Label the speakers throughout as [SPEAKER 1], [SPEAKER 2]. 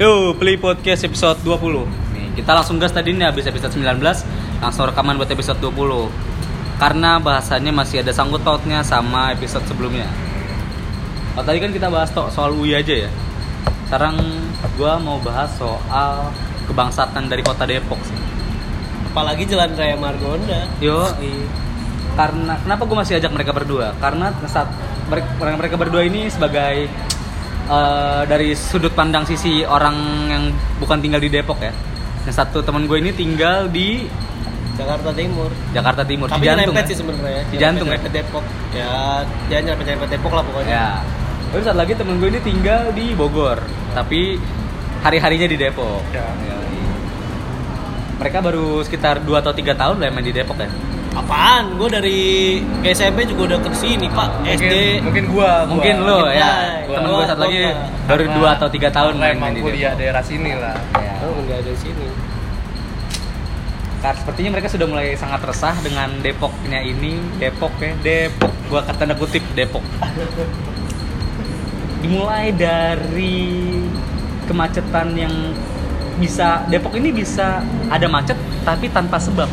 [SPEAKER 1] Yo, Play Podcast episode 20 Nih, kita langsung gas tadi nih habis episode 19 Langsung rekaman buat episode 20 Karena bahasannya masih ada sangkut pautnya sama episode sebelumnya Oh, tadi kan kita bahas to- soal UI aja ya Sekarang gua mau bahas soal kebangsatan dari kota Depok sih
[SPEAKER 2] apalagi jalan raya Margonda
[SPEAKER 1] Yo, karena kenapa gue masih ajak mereka berdua? Karena saat mereka, mereka berdua ini sebagai eh, dari sudut pandang sisi orang yang bukan tinggal di Depok ya. Yang satu teman gue ini tinggal di
[SPEAKER 2] Jakarta Timur
[SPEAKER 1] Jakarta Timur,
[SPEAKER 2] tapi
[SPEAKER 1] di jantung.
[SPEAKER 2] nyerempet
[SPEAKER 1] ya.
[SPEAKER 2] sih sebenarnya
[SPEAKER 1] Di jantung ya.
[SPEAKER 2] Nyerempet- nyerempet Depok ya dia nyerempet nyerempet Depok lah pokoknya
[SPEAKER 1] Ya. Terus satu lagi temen gue ini tinggal di Bogor, tapi hari-harinya di Depok.
[SPEAKER 2] Ya.
[SPEAKER 1] Ya. Mereka baru sekitar 2 atau 3 tahun lah yang main di Depok ya.
[SPEAKER 2] apaan gue dari SMP juga udah ke sini pak SD
[SPEAKER 3] mungkin gua, gua.
[SPEAKER 1] Mungkin lo
[SPEAKER 2] Mungkin
[SPEAKER 1] ya,
[SPEAKER 2] lah.
[SPEAKER 1] temen gue satu
[SPEAKER 2] Gua-
[SPEAKER 1] lagi
[SPEAKER 2] gua-
[SPEAKER 1] baru 2 atau 3 tahun
[SPEAKER 3] Karena
[SPEAKER 1] main,
[SPEAKER 3] emang
[SPEAKER 1] main di Depok.
[SPEAKER 3] kuliah daerah sini lah
[SPEAKER 1] Ya.
[SPEAKER 2] oh nggak ada sini
[SPEAKER 1] Kar- sepertinya mereka sudah mulai sangat resah dengan Depoknya ini, Depok ya, Depok. Gua kata tanda kutip Depok. Dimulai dari kemacetan yang bisa Depok ini bisa ada macet tapi tanpa sebab.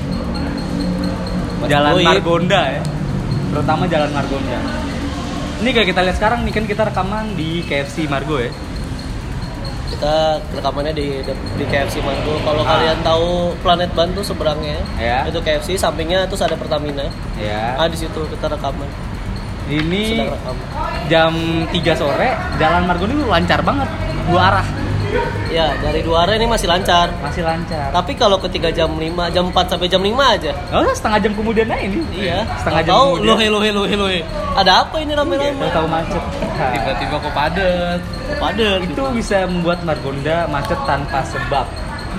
[SPEAKER 1] Jalan
[SPEAKER 2] Goib.
[SPEAKER 1] Margonda ya. Terutama Jalan Margonda. Ini kayak kita lihat sekarang nih kan kita rekaman di KFC Margo ya.
[SPEAKER 2] kita rekamannya di di KFC Margo kalau
[SPEAKER 1] Ah.
[SPEAKER 2] kalian tahu Planet Bantu seberangnya
[SPEAKER 1] Ya.
[SPEAKER 2] itu KFC sampingnya terus ada Pertamina ah
[SPEAKER 1] Ya.
[SPEAKER 2] di situ kita rekaman
[SPEAKER 1] Ini
[SPEAKER 2] sedang rekam
[SPEAKER 1] jam 3 sore jalan Margonda itu lancar banget dua arah
[SPEAKER 2] ya dari dua area ini masih lancar
[SPEAKER 1] masih lancar
[SPEAKER 2] tapi kalau ketika jam 5, jam 4 sampai jam 5 aja
[SPEAKER 1] oh setengah jam kemudian aja ini
[SPEAKER 2] Iya.
[SPEAKER 1] setengah jam
[SPEAKER 2] Tahu
[SPEAKER 1] kemudian Iya.
[SPEAKER 2] lohe lohe lohe lohe. Ada apa ini rame-rame?
[SPEAKER 1] Nggak tahu macet Nah,
[SPEAKER 3] tiba-tiba kok padet
[SPEAKER 2] Padahal
[SPEAKER 1] itu bisa membuat Margonda macet tanpa sebab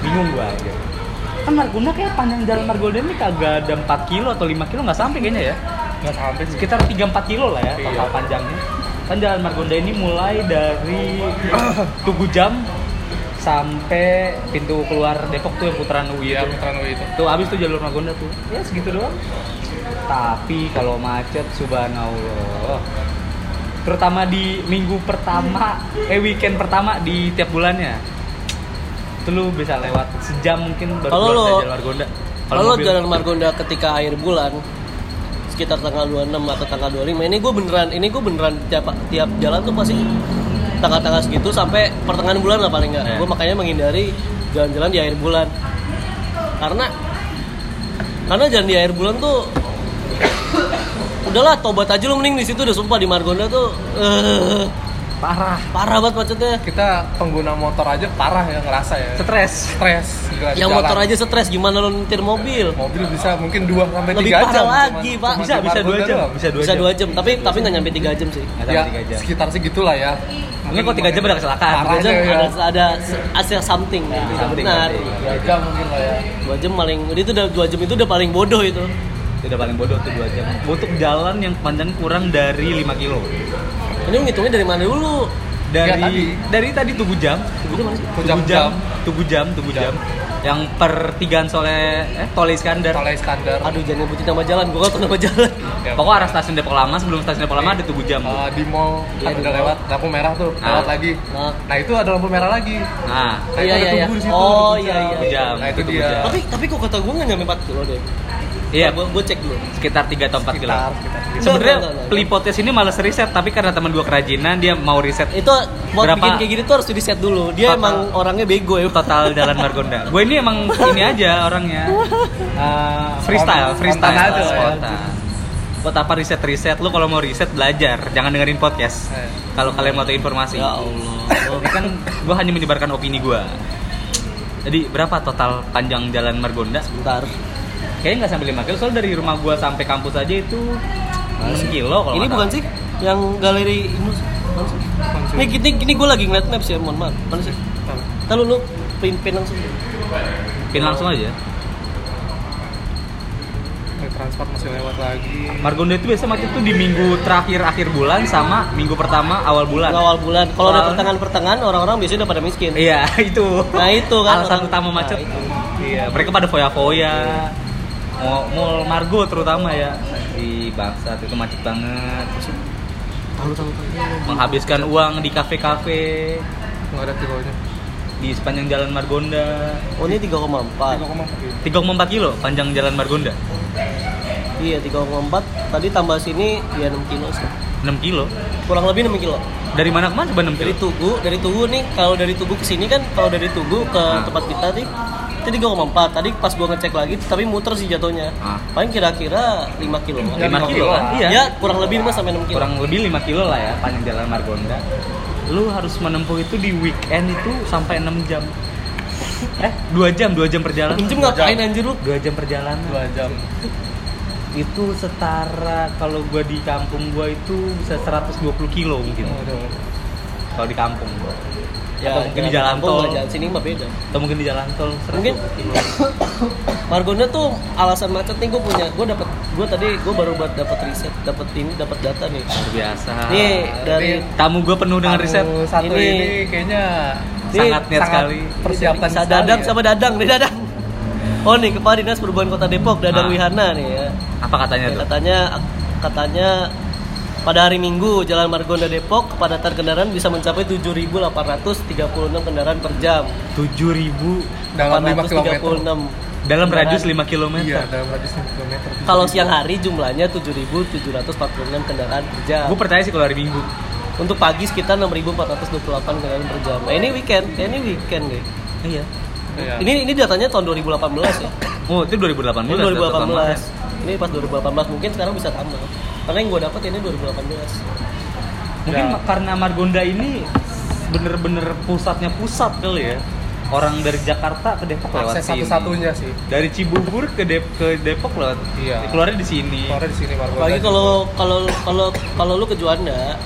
[SPEAKER 1] bingung gua aja kan Margonda kayak panjang jalan Margonda ini kagak ada 4 kilo atau 5 kilo nggak sampai kayaknya ya
[SPEAKER 3] nggak sampai sih
[SPEAKER 1] sekitar 3-4 kilo lah ya total
[SPEAKER 3] Iya.
[SPEAKER 1] panjangnya kan jalan Margonda ini mulai dari Tugu Jam sampai pintu keluar Depok tuh yang putaran UI
[SPEAKER 3] iya
[SPEAKER 1] itu.
[SPEAKER 3] putaran UI itu
[SPEAKER 1] Tuh abis tuh jalur Margonda tuh. Ya segitu doang. Tapi kalau macet subhanallah. Terutama di minggu pertama, eh weekend pertama di tiap bulannya. Itu lu bisa lewat sejam mungkin baru
[SPEAKER 2] Kalau
[SPEAKER 1] keluar
[SPEAKER 2] lu-
[SPEAKER 1] dari jalan Margonda.
[SPEAKER 2] Kalau
[SPEAKER 1] mobil.
[SPEAKER 2] jalan Margonda ketika akhir bulan sekitar tanggal 26 atau tanggal 25 ini gue beneran ini gue beneran tiap tiap jalan tuh pasti tanggal-tanggal segitu sampai pertengahan bulan lah paling nggak
[SPEAKER 1] Iya.
[SPEAKER 2] gue makanya menghindari jalan-jalan di akhir bulan karena karena jalan di akhir bulan tuh udahlah tobat aja lu mending di situ udah sumpah di Margonda tuh eh,
[SPEAKER 1] parah,
[SPEAKER 2] parah banget macetnya
[SPEAKER 3] kita pengguna motor aja parah ya ngerasa ya
[SPEAKER 1] stres.
[SPEAKER 3] stres gila di
[SPEAKER 2] yang
[SPEAKER 3] jalan.
[SPEAKER 2] Ya, motor aja stres gimana lo nyetir mobil
[SPEAKER 3] mobil bisa mungkin 2 sampai 3 jam
[SPEAKER 2] Lebih parah lagi, Pak.
[SPEAKER 3] cuman
[SPEAKER 1] Bisa
[SPEAKER 3] di
[SPEAKER 1] bisa
[SPEAKER 3] Margonda
[SPEAKER 1] dua jam,
[SPEAKER 3] doang.
[SPEAKER 1] bisa dua
[SPEAKER 2] bisa
[SPEAKER 1] jam.
[SPEAKER 2] dua jam tapi tapi nggak nyampe tiga jam sih
[SPEAKER 1] Nggak
[SPEAKER 3] ya
[SPEAKER 1] sampai tiga jam.
[SPEAKER 3] sekitar segitulah ya
[SPEAKER 1] Mungkin kalau tiga jam ada kecelakaan.
[SPEAKER 3] parah
[SPEAKER 2] dua jam
[SPEAKER 3] aja ya.
[SPEAKER 2] ada ada se- ada something ya, bisa
[SPEAKER 1] something,
[SPEAKER 2] benar
[SPEAKER 1] something.
[SPEAKER 3] Dua jam mungkin lah ya
[SPEAKER 2] dua jam paling itu udah dua jam itu udah paling bodoh itu
[SPEAKER 1] Tidak paling bodoh tuh dua jam. Untuk jalan yang panjang kurang dari 5 kilo.
[SPEAKER 2] ini ngitungnya dari mana dulu
[SPEAKER 1] Dari
[SPEAKER 3] Ya, tadi.
[SPEAKER 1] dari tadi Tugu Jam
[SPEAKER 2] itu mana sih
[SPEAKER 3] Tugu
[SPEAKER 1] Tugu
[SPEAKER 3] Jam.
[SPEAKER 1] jam, tugu jam, tugu jam. Yang pertigaan soleh eh Tole Iskandar.
[SPEAKER 3] Tolai Iskandar
[SPEAKER 2] aduh jangan nyebutin nama jalan gua kan tahu nama jalan
[SPEAKER 3] Ya,
[SPEAKER 1] Pokoknya arah stasiun Depok Lama sebelum stasiun Depok Lama ada tugu jam.
[SPEAKER 3] eh, di mall kan
[SPEAKER 2] Iya, di
[SPEAKER 3] udah
[SPEAKER 2] mall.
[SPEAKER 3] lewat lampu merah tuh
[SPEAKER 1] Ah.
[SPEAKER 3] lewat lagi
[SPEAKER 2] nah,
[SPEAKER 3] nah itu ada lampu merah lagi
[SPEAKER 1] Nah,
[SPEAKER 3] Nah,
[SPEAKER 2] Iya,
[SPEAKER 3] itu ada
[SPEAKER 2] iya,
[SPEAKER 3] tugu
[SPEAKER 2] iya.
[SPEAKER 3] di situ,
[SPEAKER 2] Oh,
[SPEAKER 3] ada
[SPEAKER 2] iya,
[SPEAKER 3] tugu
[SPEAKER 2] iya,
[SPEAKER 3] jam.
[SPEAKER 1] iya.
[SPEAKER 3] Nah, itu
[SPEAKER 1] Tugu
[SPEAKER 3] dia.
[SPEAKER 1] jam.
[SPEAKER 2] tapi tapi kok kata gua nggak nyampe 4 kilo deh
[SPEAKER 1] iya
[SPEAKER 2] Nah, gua, gua cek dulu
[SPEAKER 1] sekitar 3 atau 4 kilo.
[SPEAKER 3] Sekitar, sekitar.
[SPEAKER 2] Enggak, enggak,
[SPEAKER 1] Sebenarnya
[SPEAKER 2] enggak.
[SPEAKER 1] Pli Podcast ini males riset, tapi karena teman gua kerajinan dia mau riset
[SPEAKER 2] itu buat
[SPEAKER 1] Berapa?
[SPEAKER 2] bikin kayak gini tuh harus di set dulu dia
[SPEAKER 1] Total.
[SPEAKER 2] emang orangnya bego ya
[SPEAKER 1] total jalan Margonda. Gue ini emang ini aja orangnya. Eh, freestyle,
[SPEAKER 3] Spontan
[SPEAKER 1] freestyle,
[SPEAKER 3] aja, ya.
[SPEAKER 1] spontan. Buat apa riset-riset? Lu kalau mau riset belajar, jangan dengerin podcast.
[SPEAKER 3] Eh.
[SPEAKER 1] Kalau kalian mau tahu informasi.
[SPEAKER 2] ya Allah
[SPEAKER 1] Ini kan gue hanya menyebarkan opini gue. Jadi berapa total panjang jalan Margonda?
[SPEAKER 2] bentar
[SPEAKER 1] Kayaknya nggak sampai 5 kilo, soalnya dari rumah gue sampai kampus aja itu 6 kilo kalau
[SPEAKER 2] ini
[SPEAKER 1] nggak
[SPEAKER 2] bukan
[SPEAKER 1] salah.
[SPEAKER 2] sih yang galeri ini sih? Mana sih? Ini gini, gini gue lagi ngeliat maps ya, mohon maaf. Mana sih? Ntar lu, lu pin pin langsung.
[SPEAKER 1] Pin langsung aja.
[SPEAKER 3] Naik transport masih lewat lagi
[SPEAKER 1] Margonda itu biasa macet tuh di minggu terakhir akhir bulan sama minggu pertama awal bulan.
[SPEAKER 2] Awal bulan. Kalau
[SPEAKER 1] Soalnya-
[SPEAKER 2] udah pertengahan-pertengahan orang-orang biasanya udah pada miskin.
[SPEAKER 1] Iya itu.
[SPEAKER 2] Nah, itu kan.
[SPEAKER 1] alasan utama macet.
[SPEAKER 2] Nah, itu.
[SPEAKER 1] Iya mereka pada foya-foya. Mau mall Margo terutama ya. Di bangsat itu macet banget.
[SPEAKER 2] Tahu tahu tahu.
[SPEAKER 1] Menghabiskan uang di kafe-kafe.
[SPEAKER 3] nggak ada tironya
[SPEAKER 1] di sepanjang jalan Margonda.
[SPEAKER 2] Oh ini 3,4
[SPEAKER 3] 3,4
[SPEAKER 1] 3,4 kilo panjang jalan Margonda.
[SPEAKER 2] Iya 3,4 Tadi tambah sini ya 6 kilo sih
[SPEAKER 1] 6 kilo.
[SPEAKER 2] Kurang lebih 6 kilo
[SPEAKER 1] Dari mana ke mana coba 6 kilo?
[SPEAKER 2] Dari Tugu, dari Tugu nih Kalau dari Tugu ke sini kan Kalau dari Tugu ke
[SPEAKER 1] Ah.
[SPEAKER 2] tempat kita nih Itu 3,4 Tadi pas gua ngecek lagi Tapi muter sih jatuhnya
[SPEAKER 1] Ah.
[SPEAKER 2] Paling kira-kira 5 kilo
[SPEAKER 3] Ya,
[SPEAKER 1] 5
[SPEAKER 3] lima
[SPEAKER 1] kilo
[SPEAKER 3] kilo
[SPEAKER 1] kan?
[SPEAKER 3] lah.
[SPEAKER 1] Iya.
[SPEAKER 2] Ya kurang lebih 5 sampai 6 kilo
[SPEAKER 1] Kurang lebih 5 kilo lah ya panjang jalan Margonda. Lu harus menempuh itu di weekend itu sampai 6 jam. Eh, 2 jam, 2 jam perjalanan.
[SPEAKER 2] Injem ngapain anjir lu?
[SPEAKER 1] 2 jam perjalanan.
[SPEAKER 3] 2 jam
[SPEAKER 1] Itu setara kalau gua di kampung gua itu bisa 120 kilo mungkin.
[SPEAKER 3] Waduh.
[SPEAKER 1] Kalau di kampung gua. Atau mungkin di jalan
[SPEAKER 2] kampung,
[SPEAKER 1] tol.
[SPEAKER 2] Ya, Jalan sini mah beda
[SPEAKER 1] Atau mungkin di jalan tol 120
[SPEAKER 2] Mungkin
[SPEAKER 1] kilo.
[SPEAKER 2] Margonda tuh alasan macet nih gue punya gue dapat gue tadi gue baru buat dapat riset dapat ini dapat data nih
[SPEAKER 1] Luar biasa.
[SPEAKER 2] nih dari
[SPEAKER 1] Iya. Tamu gua penuh dengan
[SPEAKER 3] Tamu
[SPEAKER 1] riset.
[SPEAKER 3] satu
[SPEAKER 2] Ini-
[SPEAKER 3] ini, kayaknya
[SPEAKER 1] Sangat niat
[SPEAKER 3] sangat
[SPEAKER 1] sekali.
[SPEAKER 3] persiapan
[SPEAKER 2] Sa
[SPEAKER 3] sekali
[SPEAKER 2] dadang
[SPEAKER 3] ya.
[SPEAKER 2] sama dadang nih dadang oh nih kepala dinas perhubungan kota Depok dadang
[SPEAKER 1] Ah.
[SPEAKER 2] Wihana nih ya
[SPEAKER 1] Apa katanya tuh?
[SPEAKER 2] katanya katanya pada hari Minggu Jalan Margonda Depok kepadatan kendaraan bisa mencapai 7.836 kendaraan per jam
[SPEAKER 1] 7000
[SPEAKER 3] dalam 5 kilometer
[SPEAKER 2] 836
[SPEAKER 1] dalam
[SPEAKER 2] Kendaraan.
[SPEAKER 1] radius 5 km.
[SPEAKER 3] iya dalam radius 5 kilometer
[SPEAKER 2] kalau siang hari jumlahnya 7.746 kendaraan per jam
[SPEAKER 1] Gue percaya sih kalau hari Minggu.
[SPEAKER 2] Untuk pagi sekitar 6.428 kendaraan per jam. Nah, ini weekend, ya ini weekend deh.
[SPEAKER 1] Iya.
[SPEAKER 3] Iya.
[SPEAKER 2] Ini ini datanya tahun 2018 ya.
[SPEAKER 1] Oh, itu 2018.
[SPEAKER 2] Ini
[SPEAKER 1] data pertama.
[SPEAKER 2] 2018. Ini pas 2018 mungkin sekarang bisa tambah. Karena yang gue dapat ini 2018.
[SPEAKER 1] Mungkin
[SPEAKER 3] Ya.
[SPEAKER 1] ma- karena Margonda ini bener-bener pusatnya pusat kali ya. Orang dari Jakarta ke Depok lewat
[SPEAKER 3] akses
[SPEAKER 1] sini.
[SPEAKER 3] satu-satunya sih
[SPEAKER 1] Dari Cibubur ke Dep ke Depok lewat.
[SPEAKER 3] Iya.
[SPEAKER 1] Keluarnya di sini.
[SPEAKER 3] Keluarnya di sini Margonda
[SPEAKER 2] Apalagi kalau kalau kalau kalau lu ke Juanda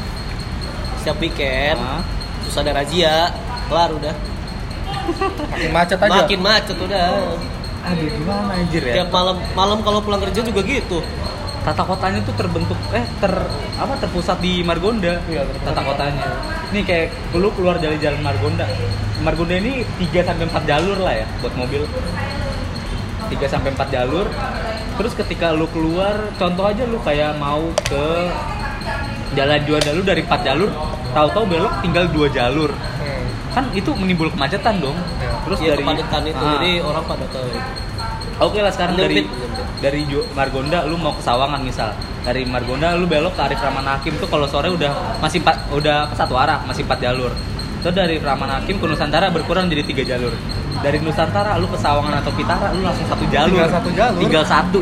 [SPEAKER 2] setiap weekend
[SPEAKER 1] Nah,
[SPEAKER 2] terus ada razia, kelar udah.
[SPEAKER 3] makin macet aja
[SPEAKER 2] Makin macet
[SPEAKER 1] Oh.
[SPEAKER 2] udah.
[SPEAKER 1] Aduh gimana anjir ya.
[SPEAKER 2] Tiap malam malam kalau pulang kerja juga gitu.
[SPEAKER 1] Tata kotanya tuh terbentuk eh ter apa terpusat di Margonda.
[SPEAKER 3] Iya, terpusat.
[SPEAKER 1] tata kotanya. Nih kayak lu keluar dari jalan Margonda. Margonda ini 3 sampai 4 jalur lah ya buat mobil. 3 sampai 4 jalur. Terus ketika lu keluar, contoh aja lu kayak mau ke jalan Juanda lu dari 4 jalur, tahu-tahu belok tinggal 2 jalur.
[SPEAKER 3] Hmm.
[SPEAKER 1] Kan itu menimbul kemacetan dong.
[SPEAKER 3] Iya.
[SPEAKER 1] Terus
[SPEAKER 2] Ya
[SPEAKER 1] dari
[SPEAKER 2] kepadatan itu
[SPEAKER 1] Ah.
[SPEAKER 2] jadi orang pada tahu.
[SPEAKER 1] Oke lah sekarang dari
[SPEAKER 2] Penyempit, penyempit.
[SPEAKER 1] dari Ju- Margonda lu mau ke Sawangan misal. Dari Margonda lu belok ke Arif Rahman Hakim tuh kalau sore udah masih empat udah satu arah, masih empat jalur. Terus dari Rahman Hakim ke Nusantara berkurang jadi tiga jalur. Dari Nusantara lu ke Sawangan atau Pitara lu langsung satu jalur.
[SPEAKER 3] Tinggal satu jalur.
[SPEAKER 1] Tinggal satu.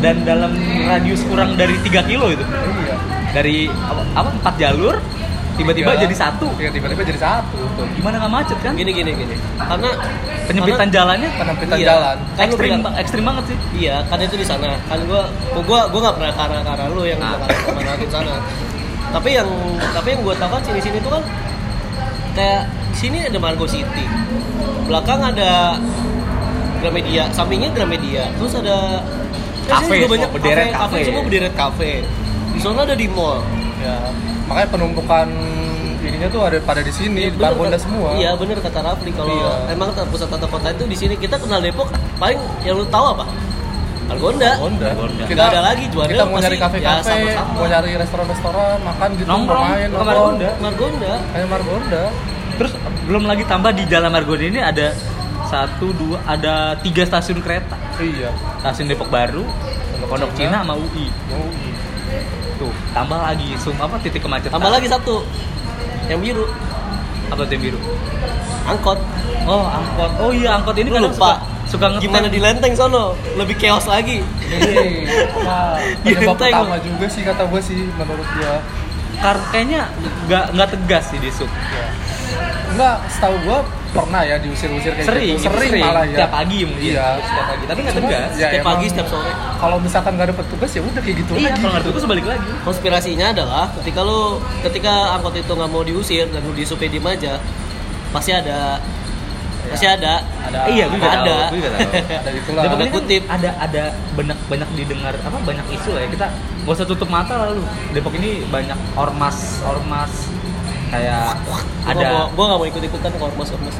[SPEAKER 1] Dan dalam radius kurang dari 3 kilo itu.
[SPEAKER 3] iya
[SPEAKER 1] Dari apa, apa, empat jalur tiba-tiba
[SPEAKER 3] Tiga.
[SPEAKER 1] jadi satu.
[SPEAKER 3] Iya, tiba-tiba jadi satu tuh
[SPEAKER 1] Gimana nggak macet kan?
[SPEAKER 2] Gini gini gini. Karena
[SPEAKER 1] Penyempitan
[SPEAKER 2] karena-
[SPEAKER 1] jalannya
[SPEAKER 3] penempitan
[SPEAKER 2] Iya.
[SPEAKER 3] jalan
[SPEAKER 2] Kan lu
[SPEAKER 1] ekstrim,
[SPEAKER 2] bilang-
[SPEAKER 1] ekstrim banget sih.
[SPEAKER 2] Iya, kan itu di sana. Kan gua gua gua, gua gak pernah karena karena lu yang
[SPEAKER 1] Ah.
[SPEAKER 2] nah. karena karena di sana. Tapi yang tapi yang gua tahu kan sini sini tuh kan kayak di sini ada Margo City. Belakang ada Gramedia, sampingnya Gramedia. Terus ada terus
[SPEAKER 1] Cafe,
[SPEAKER 2] ini juga
[SPEAKER 1] semua berderet
[SPEAKER 2] cafe, cafe,
[SPEAKER 1] cafe.
[SPEAKER 2] semua berderet kafe. Di sana ada di mall.
[SPEAKER 3] ya makanya penumpukan ininya tuh ada pada di
[SPEAKER 2] Iya,
[SPEAKER 3] sini di
[SPEAKER 2] Bener
[SPEAKER 3] Margonda
[SPEAKER 2] kata-
[SPEAKER 3] semua
[SPEAKER 2] Iya bener kata Rafli kalau
[SPEAKER 3] Iya.
[SPEAKER 2] emang ter- pusat tata kota itu di sini kita kenal Depok paling yang lu tahu apa? Margonda.
[SPEAKER 3] Margonda.
[SPEAKER 1] Margonda.
[SPEAKER 3] Kita
[SPEAKER 2] Nggak ada lagi, Juanda
[SPEAKER 3] Kita mau
[SPEAKER 2] pasti
[SPEAKER 3] nyari kafe-kafe,
[SPEAKER 2] ya sama-sama.
[SPEAKER 3] mau nyari restoran-restoran, makan gitu,
[SPEAKER 1] Nongkrong
[SPEAKER 3] main,
[SPEAKER 1] ke Margonda.
[SPEAKER 2] Margonda.
[SPEAKER 3] Kayak Margonda.
[SPEAKER 1] Terus belum lagi tambah di Jalan Margonda ini ada satu dua ada tiga stasiun kereta.
[SPEAKER 3] Iya.
[SPEAKER 1] Stasiun Depok Baru, Pondok Cina sama UI.
[SPEAKER 3] Oh,
[SPEAKER 1] Tuh, tambah lagi sum apa titik kemacetan.
[SPEAKER 2] Tambah lagi satu yang biru
[SPEAKER 1] apa tuh yang biru?
[SPEAKER 2] angkot.
[SPEAKER 1] Oh, angkot. Oh iya, angkot ini
[SPEAKER 2] Lu
[SPEAKER 1] kadang
[SPEAKER 2] lupa.
[SPEAKER 1] suka, suka ngetem.
[SPEAKER 2] Gimana di lenteng sono? Lebih chaos lagi.
[SPEAKER 3] Iya. Nah,
[SPEAKER 1] Iya,
[SPEAKER 3] penyebab
[SPEAKER 1] tengok.
[SPEAKER 3] utama juga sih kata gue sih menurut gue.
[SPEAKER 1] Kar- kayaknya nggak nggak tegas sih di sub.
[SPEAKER 3] Ya. Enggak, setahu gue pernah ya diusir-usir
[SPEAKER 2] Iya,
[SPEAKER 3] kayak
[SPEAKER 1] Sering,
[SPEAKER 3] gitu. Sering,
[SPEAKER 1] sering.
[SPEAKER 3] malah ya.
[SPEAKER 1] Tiap pagi mungkin.
[SPEAKER 3] Iya.
[SPEAKER 1] Setiap pagi, tapi nggak
[SPEAKER 3] Cuma,
[SPEAKER 1] tegas.
[SPEAKER 3] Ya,
[SPEAKER 2] setiap
[SPEAKER 3] emang.
[SPEAKER 2] pagi, setiap sore.
[SPEAKER 3] Kalau misalkan nggak ada petugas ya udah kayak gitu
[SPEAKER 1] iya,
[SPEAKER 3] aja.
[SPEAKER 1] kalau nggak tugas balik lagi.
[SPEAKER 2] Konspirasinya adalah ketika lu ketika angkot itu nggak mau diusir dan lu disupe diem aja, pasti ada pasti ada
[SPEAKER 3] Ada.
[SPEAKER 1] iya, gue juga
[SPEAKER 2] Ada.
[SPEAKER 1] tahu. Gue juga tahu.
[SPEAKER 3] Ada gitulah.
[SPEAKER 1] Tapi kan
[SPEAKER 2] kutip.
[SPEAKER 1] ada ada banyak banyak didengar apa banyak isu lah ya kita nggak usah tutup mata lalu Depok ini banyak ormas ormas kayak ada
[SPEAKER 2] gue gak mau ikut ikutan kormos kormos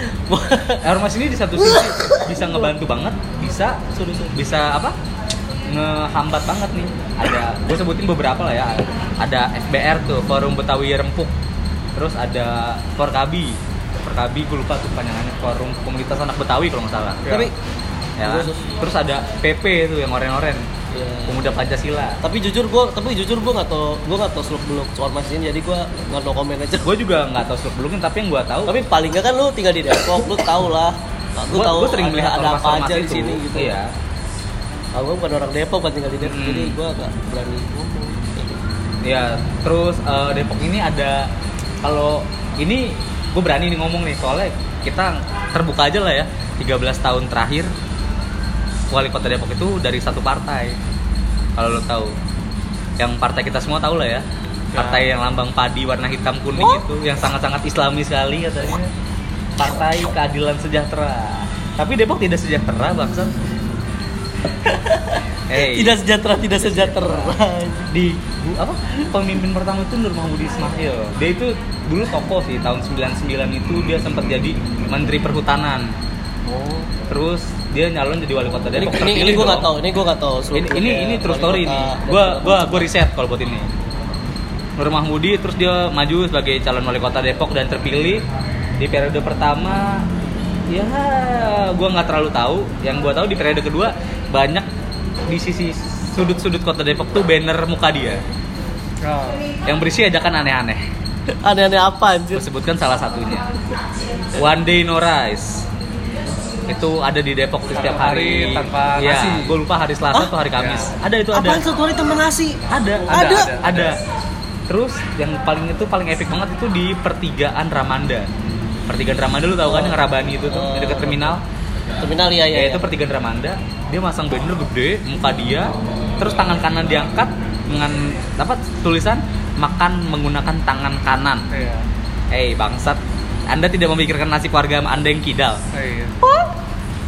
[SPEAKER 1] ormas ini di satu sisi bisa ngebantu banget bisa suruh bisa apa ngehambat banget nih ada gue sebutin beberapa lah ya ada FBR tuh Forum Betawi Rempuk terus ada Forkabi Kabi gue lupa tuh panjangannya forum komunitas anak Betawi kalau nggak salah
[SPEAKER 3] Ya.
[SPEAKER 2] Tapi
[SPEAKER 1] ya kan?
[SPEAKER 2] Terus?
[SPEAKER 1] terus ada PP itu yang oren-oren
[SPEAKER 2] ya,
[SPEAKER 1] pemuda Pancasila
[SPEAKER 2] tapi jujur gue tapi jujur gue nggak tau gue nggak tau seluk beluk ormas ini jadi gue nggak no komen aja
[SPEAKER 1] gue juga nggak tahu seluk beluknya tapi yang gue tahu
[SPEAKER 2] tapi paling nggak kan lu tinggal di Depok lu tau lah Nah, lu
[SPEAKER 1] gua-
[SPEAKER 2] tahu
[SPEAKER 1] gua sering melihat
[SPEAKER 2] ada apa
[SPEAKER 1] ormas-ormas
[SPEAKER 2] aja di
[SPEAKER 1] itu.
[SPEAKER 2] sini gitu
[SPEAKER 1] Iya.
[SPEAKER 2] Kalau gue bukan orang Depok kan tinggal di Depok
[SPEAKER 1] Hmm.
[SPEAKER 2] jadi gue nggak berani ngomong
[SPEAKER 1] Ya, terus eh, Depok ini ada kalau ini gue berani nih ngomong nih soalnya kita terbuka aja lah ya. 13 tahun terakhir wali kota Depok itu dari satu partai. Kalau lo tahu, yang partai kita semua tahu lah ya. Partai yang lambang padi warna hitam kuning itu yang sangat-sangat islami sekali katanya. Partai Keadilan Sejahtera. Tapi Depok tidak sejahtera, Bangsat. Hey
[SPEAKER 2] tidak sejahtera tidak sejahtera
[SPEAKER 1] di bu- apa pemimpin pertama itu Nur Mahmudi Ismail dia itu dulu tokoh sih tahun 99 itu dia sempat jadi menteri perhutanan
[SPEAKER 2] oh
[SPEAKER 1] terus dia nyalon jadi wali kota
[SPEAKER 2] ini
[SPEAKER 1] Depok
[SPEAKER 2] ini, ini
[SPEAKER 1] terpilih
[SPEAKER 2] gue nggak
[SPEAKER 1] dong.
[SPEAKER 2] tahu ini gue nggak tahu seluk
[SPEAKER 1] ini ini, ini true story nih gua gua gua riset kalau buat ini Nur Mahmudi terus dia maju sebagai calon wali kota Depok dan terpilih di periode pertama ya gua nggak terlalu tahu yang gua tahu di periode kedua banyak di sisi sudut-sudut kota Depok tuh banner muka dia
[SPEAKER 3] Nah,
[SPEAKER 1] yang berisi ajakan aneh-aneh.
[SPEAKER 2] aneh-aneh apa anjir
[SPEAKER 1] Gue sebutkan salah satunya. One Day No Rise. Itu ada di Depok tuh setiap
[SPEAKER 3] Tanpa
[SPEAKER 1] hari.
[SPEAKER 3] hari, tanpa
[SPEAKER 1] ya,
[SPEAKER 3] nasi.
[SPEAKER 1] gue lupa hari Selasa
[SPEAKER 2] Hah?
[SPEAKER 1] atau hari Kamis.
[SPEAKER 3] Ya.
[SPEAKER 1] Ada itu ada.
[SPEAKER 2] apaan satu hari temen nasi
[SPEAKER 1] Ada,
[SPEAKER 2] Ada?
[SPEAKER 1] ada, ada, ada. Terus yang paling itu paling epic banget itu di pertigaan Ramanda. Pertigaan Ramanda lu tau kan
[SPEAKER 2] Oh.
[SPEAKER 1] yang Rabani itu tuh,
[SPEAKER 2] Oh.
[SPEAKER 1] yang dekat terminal.
[SPEAKER 2] terminal ya ya
[SPEAKER 1] Ya, itu pertigaan Ramanda, dia masang banner gede, muka dia, terus tangan kanan diangkat dengan dapat tulisan makan menggunakan tangan kanan.
[SPEAKER 3] iya.
[SPEAKER 1] Hei bangsat, Anda tidak memikirkan nasib warga Anda yang kidal.
[SPEAKER 3] Iya.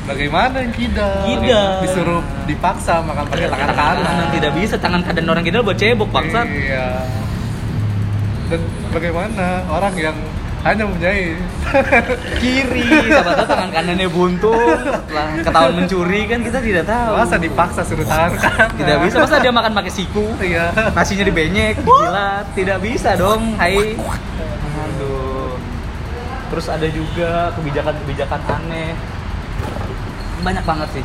[SPEAKER 3] Bagaimana yang kidal?
[SPEAKER 2] Kidal.
[SPEAKER 3] Disuruh dipaksa makan pakai tangan
[SPEAKER 1] Tangan kanan yang Iya. tidak bisa, tangan kanan orang kidal buat cebok bangsat.
[SPEAKER 3] Iya. Dan bagaimana orang yang hanya mempunyai
[SPEAKER 1] Kiri, siapa tahu tangan kanannya buntung, setelah ketahuan mencuri kan kita tidak tahu.
[SPEAKER 3] masa dipaksa suruh tahan kanan?
[SPEAKER 1] Tidak bisa, masa dia makan pakai siku,
[SPEAKER 3] Iya.
[SPEAKER 1] nasinya dibenyek, gila, tidak bisa dong, hai. Aduh. Terus ada juga kebijakan-kebijakan aneh. Banyak banget sih.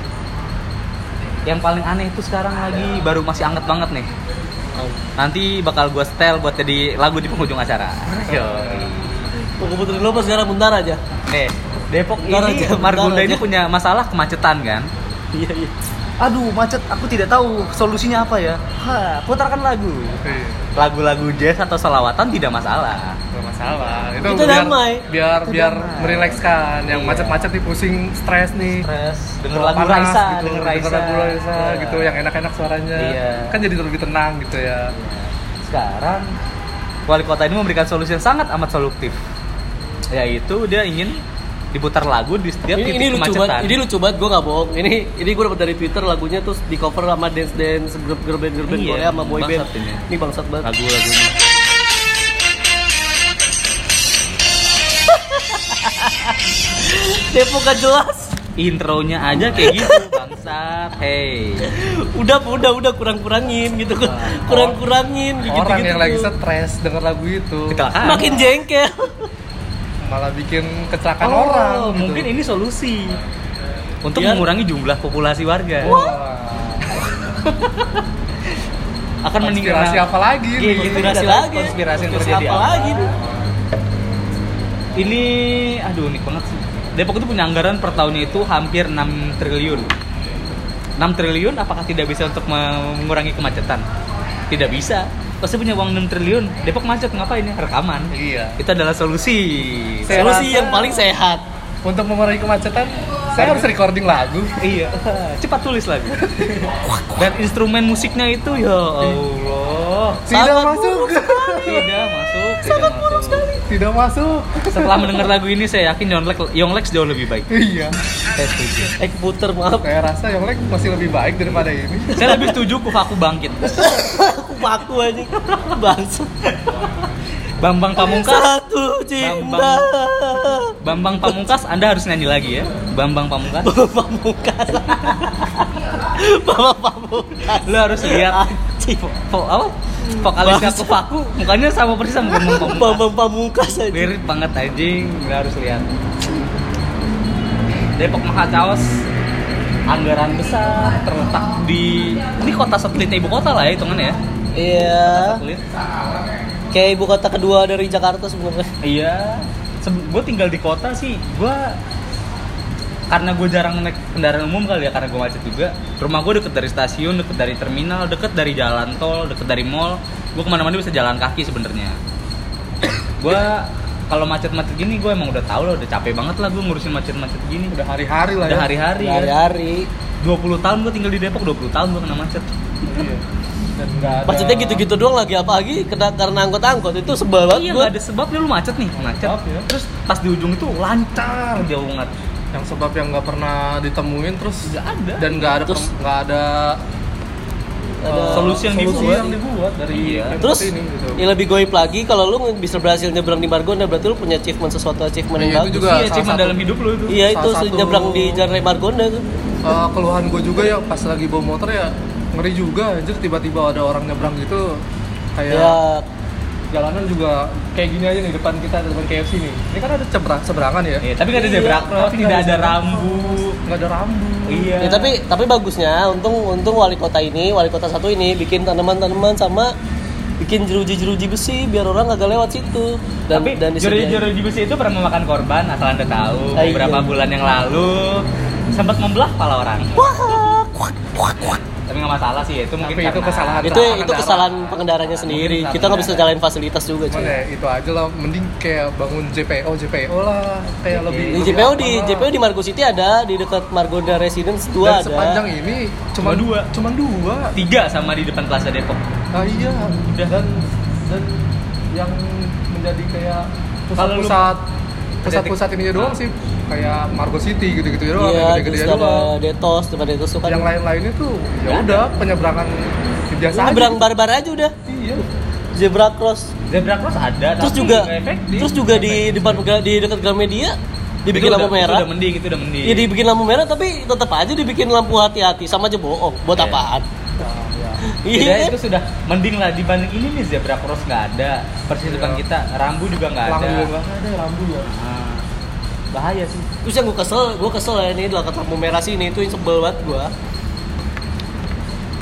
[SPEAKER 1] Yang paling aneh itu sekarang lagi baru masih anget banget nih. Nanti bakal gue setel buat jadi lagu di penghujung acara. Yo.
[SPEAKER 2] Tunggu putri lo pas sekarang bentar aja
[SPEAKER 1] Nih, Eh, Depok
[SPEAKER 2] Bentar
[SPEAKER 1] ini
[SPEAKER 2] aja, bentar
[SPEAKER 1] Margonda ini
[SPEAKER 2] aja.
[SPEAKER 1] punya masalah kemacetan kan?
[SPEAKER 2] iya iya
[SPEAKER 1] Aduh, macet. Aku tidak tahu solusinya apa ya. Ha, putarkan lagu.
[SPEAKER 3] Iya.
[SPEAKER 1] Lagu-lagu jazz atau selawatan tidak masalah.
[SPEAKER 3] Gak masalah. Itu,
[SPEAKER 2] Itu
[SPEAKER 3] biar,
[SPEAKER 2] damai.
[SPEAKER 3] Biar
[SPEAKER 1] Itu
[SPEAKER 3] biar
[SPEAKER 1] damai.
[SPEAKER 3] merilekskan. Yang
[SPEAKER 1] Iya.
[SPEAKER 3] macet-macet nih pusing, stres nih.
[SPEAKER 1] Stres, denger
[SPEAKER 3] Mau
[SPEAKER 1] lagu
[SPEAKER 3] panas
[SPEAKER 1] Raisa,
[SPEAKER 3] gitu,
[SPEAKER 1] denger Raisa.
[SPEAKER 3] lagu Raisa
[SPEAKER 1] Iya.
[SPEAKER 3] gitu yang enak-enak suaranya.
[SPEAKER 1] Iya.
[SPEAKER 3] Kan jadi lebih tenang gitu ya.
[SPEAKER 1] Sekarang wali kota ini memberikan solusi yang sangat amat solutif. Yaitu dia ingin diputar lagu di setiap
[SPEAKER 2] ini,
[SPEAKER 1] titik
[SPEAKER 2] ini lucu
[SPEAKER 1] kemacetan.
[SPEAKER 2] banget ini lucu banget gue nggak bohong ini ini gue dapat dari twitter lagunya terus di cover sama dance dance grup grup band grup band
[SPEAKER 1] Iya,
[SPEAKER 2] Korea sama boy band
[SPEAKER 1] bangsat ini.
[SPEAKER 2] ini bangsat banget
[SPEAKER 1] lagu-lagu ini.
[SPEAKER 2] Depok gak jelas
[SPEAKER 1] Intronya aja kayak gitu, bangsat. Hey.
[SPEAKER 2] udah udah udah kurang kurangin gitu kurang kurangin gitu
[SPEAKER 3] Orang
[SPEAKER 2] gitu
[SPEAKER 3] yang lagi stres denger lagu itu
[SPEAKER 1] Kecelakaan.
[SPEAKER 2] makin jengkel
[SPEAKER 3] malah bikin kecelakaan orang.
[SPEAKER 1] Oh,
[SPEAKER 3] gitu. Iya.
[SPEAKER 1] Mungkin ini solusi untuk
[SPEAKER 2] Biar-
[SPEAKER 1] mengurangi jumlah populasi warga.
[SPEAKER 3] Wah.
[SPEAKER 1] Akan meningkat.
[SPEAKER 3] Konspirasi apa lagi?
[SPEAKER 1] Iya,
[SPEAKER 3] nih?
[SPEAKER 1] gitu.
[SPEAKER 2] konspirasi
[SPEAKER 1] Konspirasi
[SPEAKER 2] lagi
[SPEAKER 1] konspirasi yang terjadi
[SPEAKER 2] apa
[SPEAKER 1] apa?
[SPEAKER 2] lagi nih?
[SPEAKER 1] Ini aduh unik banget sih. Depok itu punya anggaran per tahunnya itu hampir 6 triliun. 6 triliun apakah tidak bisa untuk mengurangi kemacetan? Tidak bisa. Pasti punya uang 6 triliun. Depok macet ngapain ya? Rekaman.
[SPEAKER 3] Iya.
[SPEAKER 1] Itu adalah solusi.
[SPEAKER 3] Saya
[SPEAKER 2] solusi
[SPEAKER 3] rasa-
[SPEAKER 2] yang paling sehat
[SPEAKER 3] Untuk mengurangi kemacetan, saya harus recording lagu.
[SPEAKER 1] Iya, cepat tulis lagi. Dan instrumen musiknya itu ya Allah.
[SPEAKER 3] Tidak
[SPEAKER 2] Sangat
[SPEAKER 3] masuk.
[SPEAKER 2] buruk
[SPEAKER 1] Tidak masuk, tidak masuk.
[SPEAKER 3] Tidak masuk.
[SPEAKER 1] Setelah mendengar lagu ini saya yakin Yonglek Yonglex jauh lebih baik.
[SPEAKER 3] Iya.
[SPEAKER 1] Saya setuju.
[SPEAKER 2] eh puter maaf
[SPEAKER 3] Saya rasa yang lain masih lebih baik daripada ini.
[SPEAKER 1] Saya lebih setuju Kufaku bangkit.
[SPEAKER 2] aku paku aja bangsat
[SPEAKER 1] Bambang Pamungkas.
[SPEAKER 2] satu cinta
[SPEAKER 1] Bambang. Bambang Pamungkas Anda harus nyanyi lagi ya. Bambang Pamungkas.
[SPEAKER 2] Bapak Pamungkas Bapak Pamungkas Ah.
[SPEAKER 1] Lu harus lihat Vo- apa? Vokalisnya ke
[SPEAKER 2] Bahasa.
[SPEAKER 1] Faku, mukanya sama persis sama Bambang Pamungkas.
[SPEAKER 2] Bambang Pamungkas aja.
[SPEAKER 1] Mirip banget anjing, nggak harus lihat. Depok Mahacaos anggaran besar terletak di ini kota satelit ibu kota lah ya hitungannya ya. Ah,
[SPEAKER 2] Iya.
[SPEAKER 1] Satelit.
[SPEAKER 2] Kayak ibu kota kedua dari Jakarta sebenarnya.
[SPEAKER 1] Iya. gue tinggal di kota sih. Gue karena gue jarang naik kendaraan umum kali ya karena gue macet juga. Rumah gue deket dari stasiun, deket dari terminal, deket dari jalan tol, deket dari mall. Gue kemana-mana bisa jalan kaki sebenarnya. gue kalau macet-macet gini gue emang udah tahu lah, udah capek banget lah gue ngurusin macet-macet gini.
[SPEAKER 3] udah hari-hari lah
[SPEAKER 1] Udah
[SPEAKER 3] ya
[SPEAKER 1] hari-hari. Ya.
[SPEAKER 2] Hari-hari.
[SPEAKER 1] 20 tahun gue tinggal di Depok, 20 tahun gue kena macet.
[SPEAKER 3] Iya. dan nggak ada
[SPEAKER 2] Macetnya gitu-gitu doang lagi apalagi kena karena angkot-angkot itu sebel banget
[SPEAKER 1] Iya
[SPEAKER 2] gua.
[SPEAKER 1] nggak ada sebabnya lu macet nih, macet.
[SPEAKER 3] Maaf ya.
[SPEAKER 1] Terus pas di ujung itu lancar jauh banget.
[SPEAKER 3] yang sebab yang nggak pernah ditemuin terus
[SPEAKER 1] Nggak ada.
[SPEAKER 3] dan nggak ada
[SPEAKER 2] Terus-
[SPEAKER 3] pem- nggak ada
[SPEAKER 2] Ada
[SPEAKER 3] eh,
[SPEAKER 1] solusi yang
[SPEAKER 3] solusi
[SPEAKER 1] dibuat.
[SPEAKER 3] yang dibuat dari
[SPEAKER 1] Iya.
[SPEAKER 3] pemkot
[SPEAKER 2] Terus
[SPEAKER 3] ini, gitu.
[SPEAKER 2] ya lebih goib lagi kalau lu bisa berhasil nyebrang di Margonda berarti lu punya achievement sesuatu achievement
[SPEAKER 3] Iya,
[SPEAKER 2] yang
[SPEAKER 3] itu
[SPEAKER 2] bagus.
[SPEAKER 3] juga
[SPEAKER 1] Iya,
[SPEAKER 3] salah
[SPEAKER 1] cuma
[SPEAKER 3] satu-
[SPEAKER 1] dalam hidup lu itu.
[SPEAKER 2] Iya itu
[SPEAKER 3] salah satu-
[SPEAKER 2] nyebrang di Jalan Raya Margonda tuh.
[SPEAKER 3] Eh, keluhan gue juga ya pas lagi bawa motor ya ngeri juga anjir tiba-tiba ada orang nyebrang gitu kayak
[SPEAKER 2] Ya,
[SPEAKER 3] jalanan juga kayak gini aja nih depan kita ada depan KFC nih ini kan ada cebra- seberangan ya
[SPEAKER 1] Iya, tapi nggak ada
[SPEAKER 2] Iya,
[SPEAKER 1] zebra cross,
[SPEAKER 3] tapi
[SPEAKER 1] tidak
[SPEAKER 3] nggak
[SPEAKER 1] ada
[SPEAKER 3] ada
[SPEAKER 1] rambu.
[SPEAKER 3] nggak ada rambu
[SPEAKER 1] Iya.
[SPEAKER 2] Ya, tapi tapi bagusnya untung untung wali kota ini wali kota satu ini bikin tanaman-tanaman sama bikin jeruji-jeruji besi biar orang agak lewat situ dan
[SPEAKER 1] tapi
[SPEAKER 2] dan
[SPEAKER 1] juri
[SPEAKER 2] disediain.
[SPEAKER 1] juri di besi itu pernah memakan korban asal anda tahu
[SPEAKER 2] Ah, iya.
[SPEAKER 1] beberapa bulan yang lalu sempat membelah kepala orang
[SPEAKER 2] Wah, kuak, kuak, kuak.
[SPEAKER 1] tapi nggak masalah sih itu mungkin
[SPEAKER 3] Tapi itu
[SPEAKER 1] karena
[SPEAKER 3] kesalahan.
[SPEAKER 2] itu itu kesalahan pengendaranya sendiri
[SPEAKER 1] Mungkin
[SPEAKER 2] kita nggak bisa
[SPEAKER 1] salah
[SPEAKER 2] jalanin fasilitas juga
[SPEAKER 3] Cuman ya
[SPEAKER 2] cuy
[SPEAKER 3] itu aja lah, mending kayak bangun JPO, JPO lah Kayak lebih
[SPEAKER 2] di
[SPEAKER 3] lebih
[SPEAKER 2] JPO di
[SPEAKER 3] apa lah.
[SPEAKER 2] JPO di Margo City ada di dekat Margonda Residence
[SPEAKER 3] Dan
[SPEAKER 2] 2
[SPEAKER 3] sepanjang
[SPEAKER 2] ada
[SPEAKER 3] ini cuman
[SPEAKER 1] Cuma dua.
[SPEAKER 3] Cuman dua
[SPEAKER 1] tiga sama di depan Plaza Depok
[SPEAKER 3] Nah iya,
[SPEAKER 1] Udah.
[SPEAKER 3] dan, dan yang menjadi kayak
[SPEAKER 1] Kalau lu-
[SPEAKER 3] pusat-pusat Pusat-pusat ininya doang sih Kayak Margo City gitu-gitu doang,
[SPEAKER 2] iya
[SPEAKER 3] yang
[SPEAKER 2] terus
[SPEAKER 3] gede-gede
[SPEAKER 2] ada
[SPEAKER 3] doang
[SPEAKER 2] Detos depan Detos tuh
[SPEAKER 3] Yang
[SPEAKER 2] kan
[SPEAKER 3] lain-lainnya tuh ya udah penyeberangan biasa aja
[SPEAKER 2] nyebrang barbar aja udah
[SPEAKER 3] Iya,
[SPEAKER 2] zebra cross
[SPEAKER 1] zebra cross ada
[SPEAKER 2] terus
[SPEAKER 1] tapi
[SPEAKER 2] juga
[SPEAKER 1] nggak efektif.
[SPEAKER 2] terus juga di
[SPEAKER 1] Nggak efektif.
[SPEAKER 2] depan Pega- di dekat Gramedia dibikin
[SPEAKER 1] Itu
[SPEAKER 2] lampu
[SPEAKER 1] udah- itu
[SPEAKER 2] merah
[SPEAKER 1] udah mending itu udah mending
[SPEAKER 2] ya dibikin lampu merah tapi tetap aja dibikin lampu hati-hati sama aja bohong buat
[SPEAKER 1] Iya.
[SPEAKER 2] apaan
[SPEAKER 3] Nah, ya.
[SPEAKER 1] Iya
[SPEAKER 2] iya
[SPEAKER 1] itu sudah mending lah dibanding ini nih zebra cross nggak ada persis
[SPEAKER 3] Iya.
[SPEAKER 1] depan kita rambu juga nggak ada
[SPEAKER 3] Lampu juga nggak ada, lampu ya
[SPEAKER 1] Ah, bahaya sih
[SPEAKER 2] terus yang gue kesel gue kesel ya ini dekat lampu merah sini itu yang sebel banget gue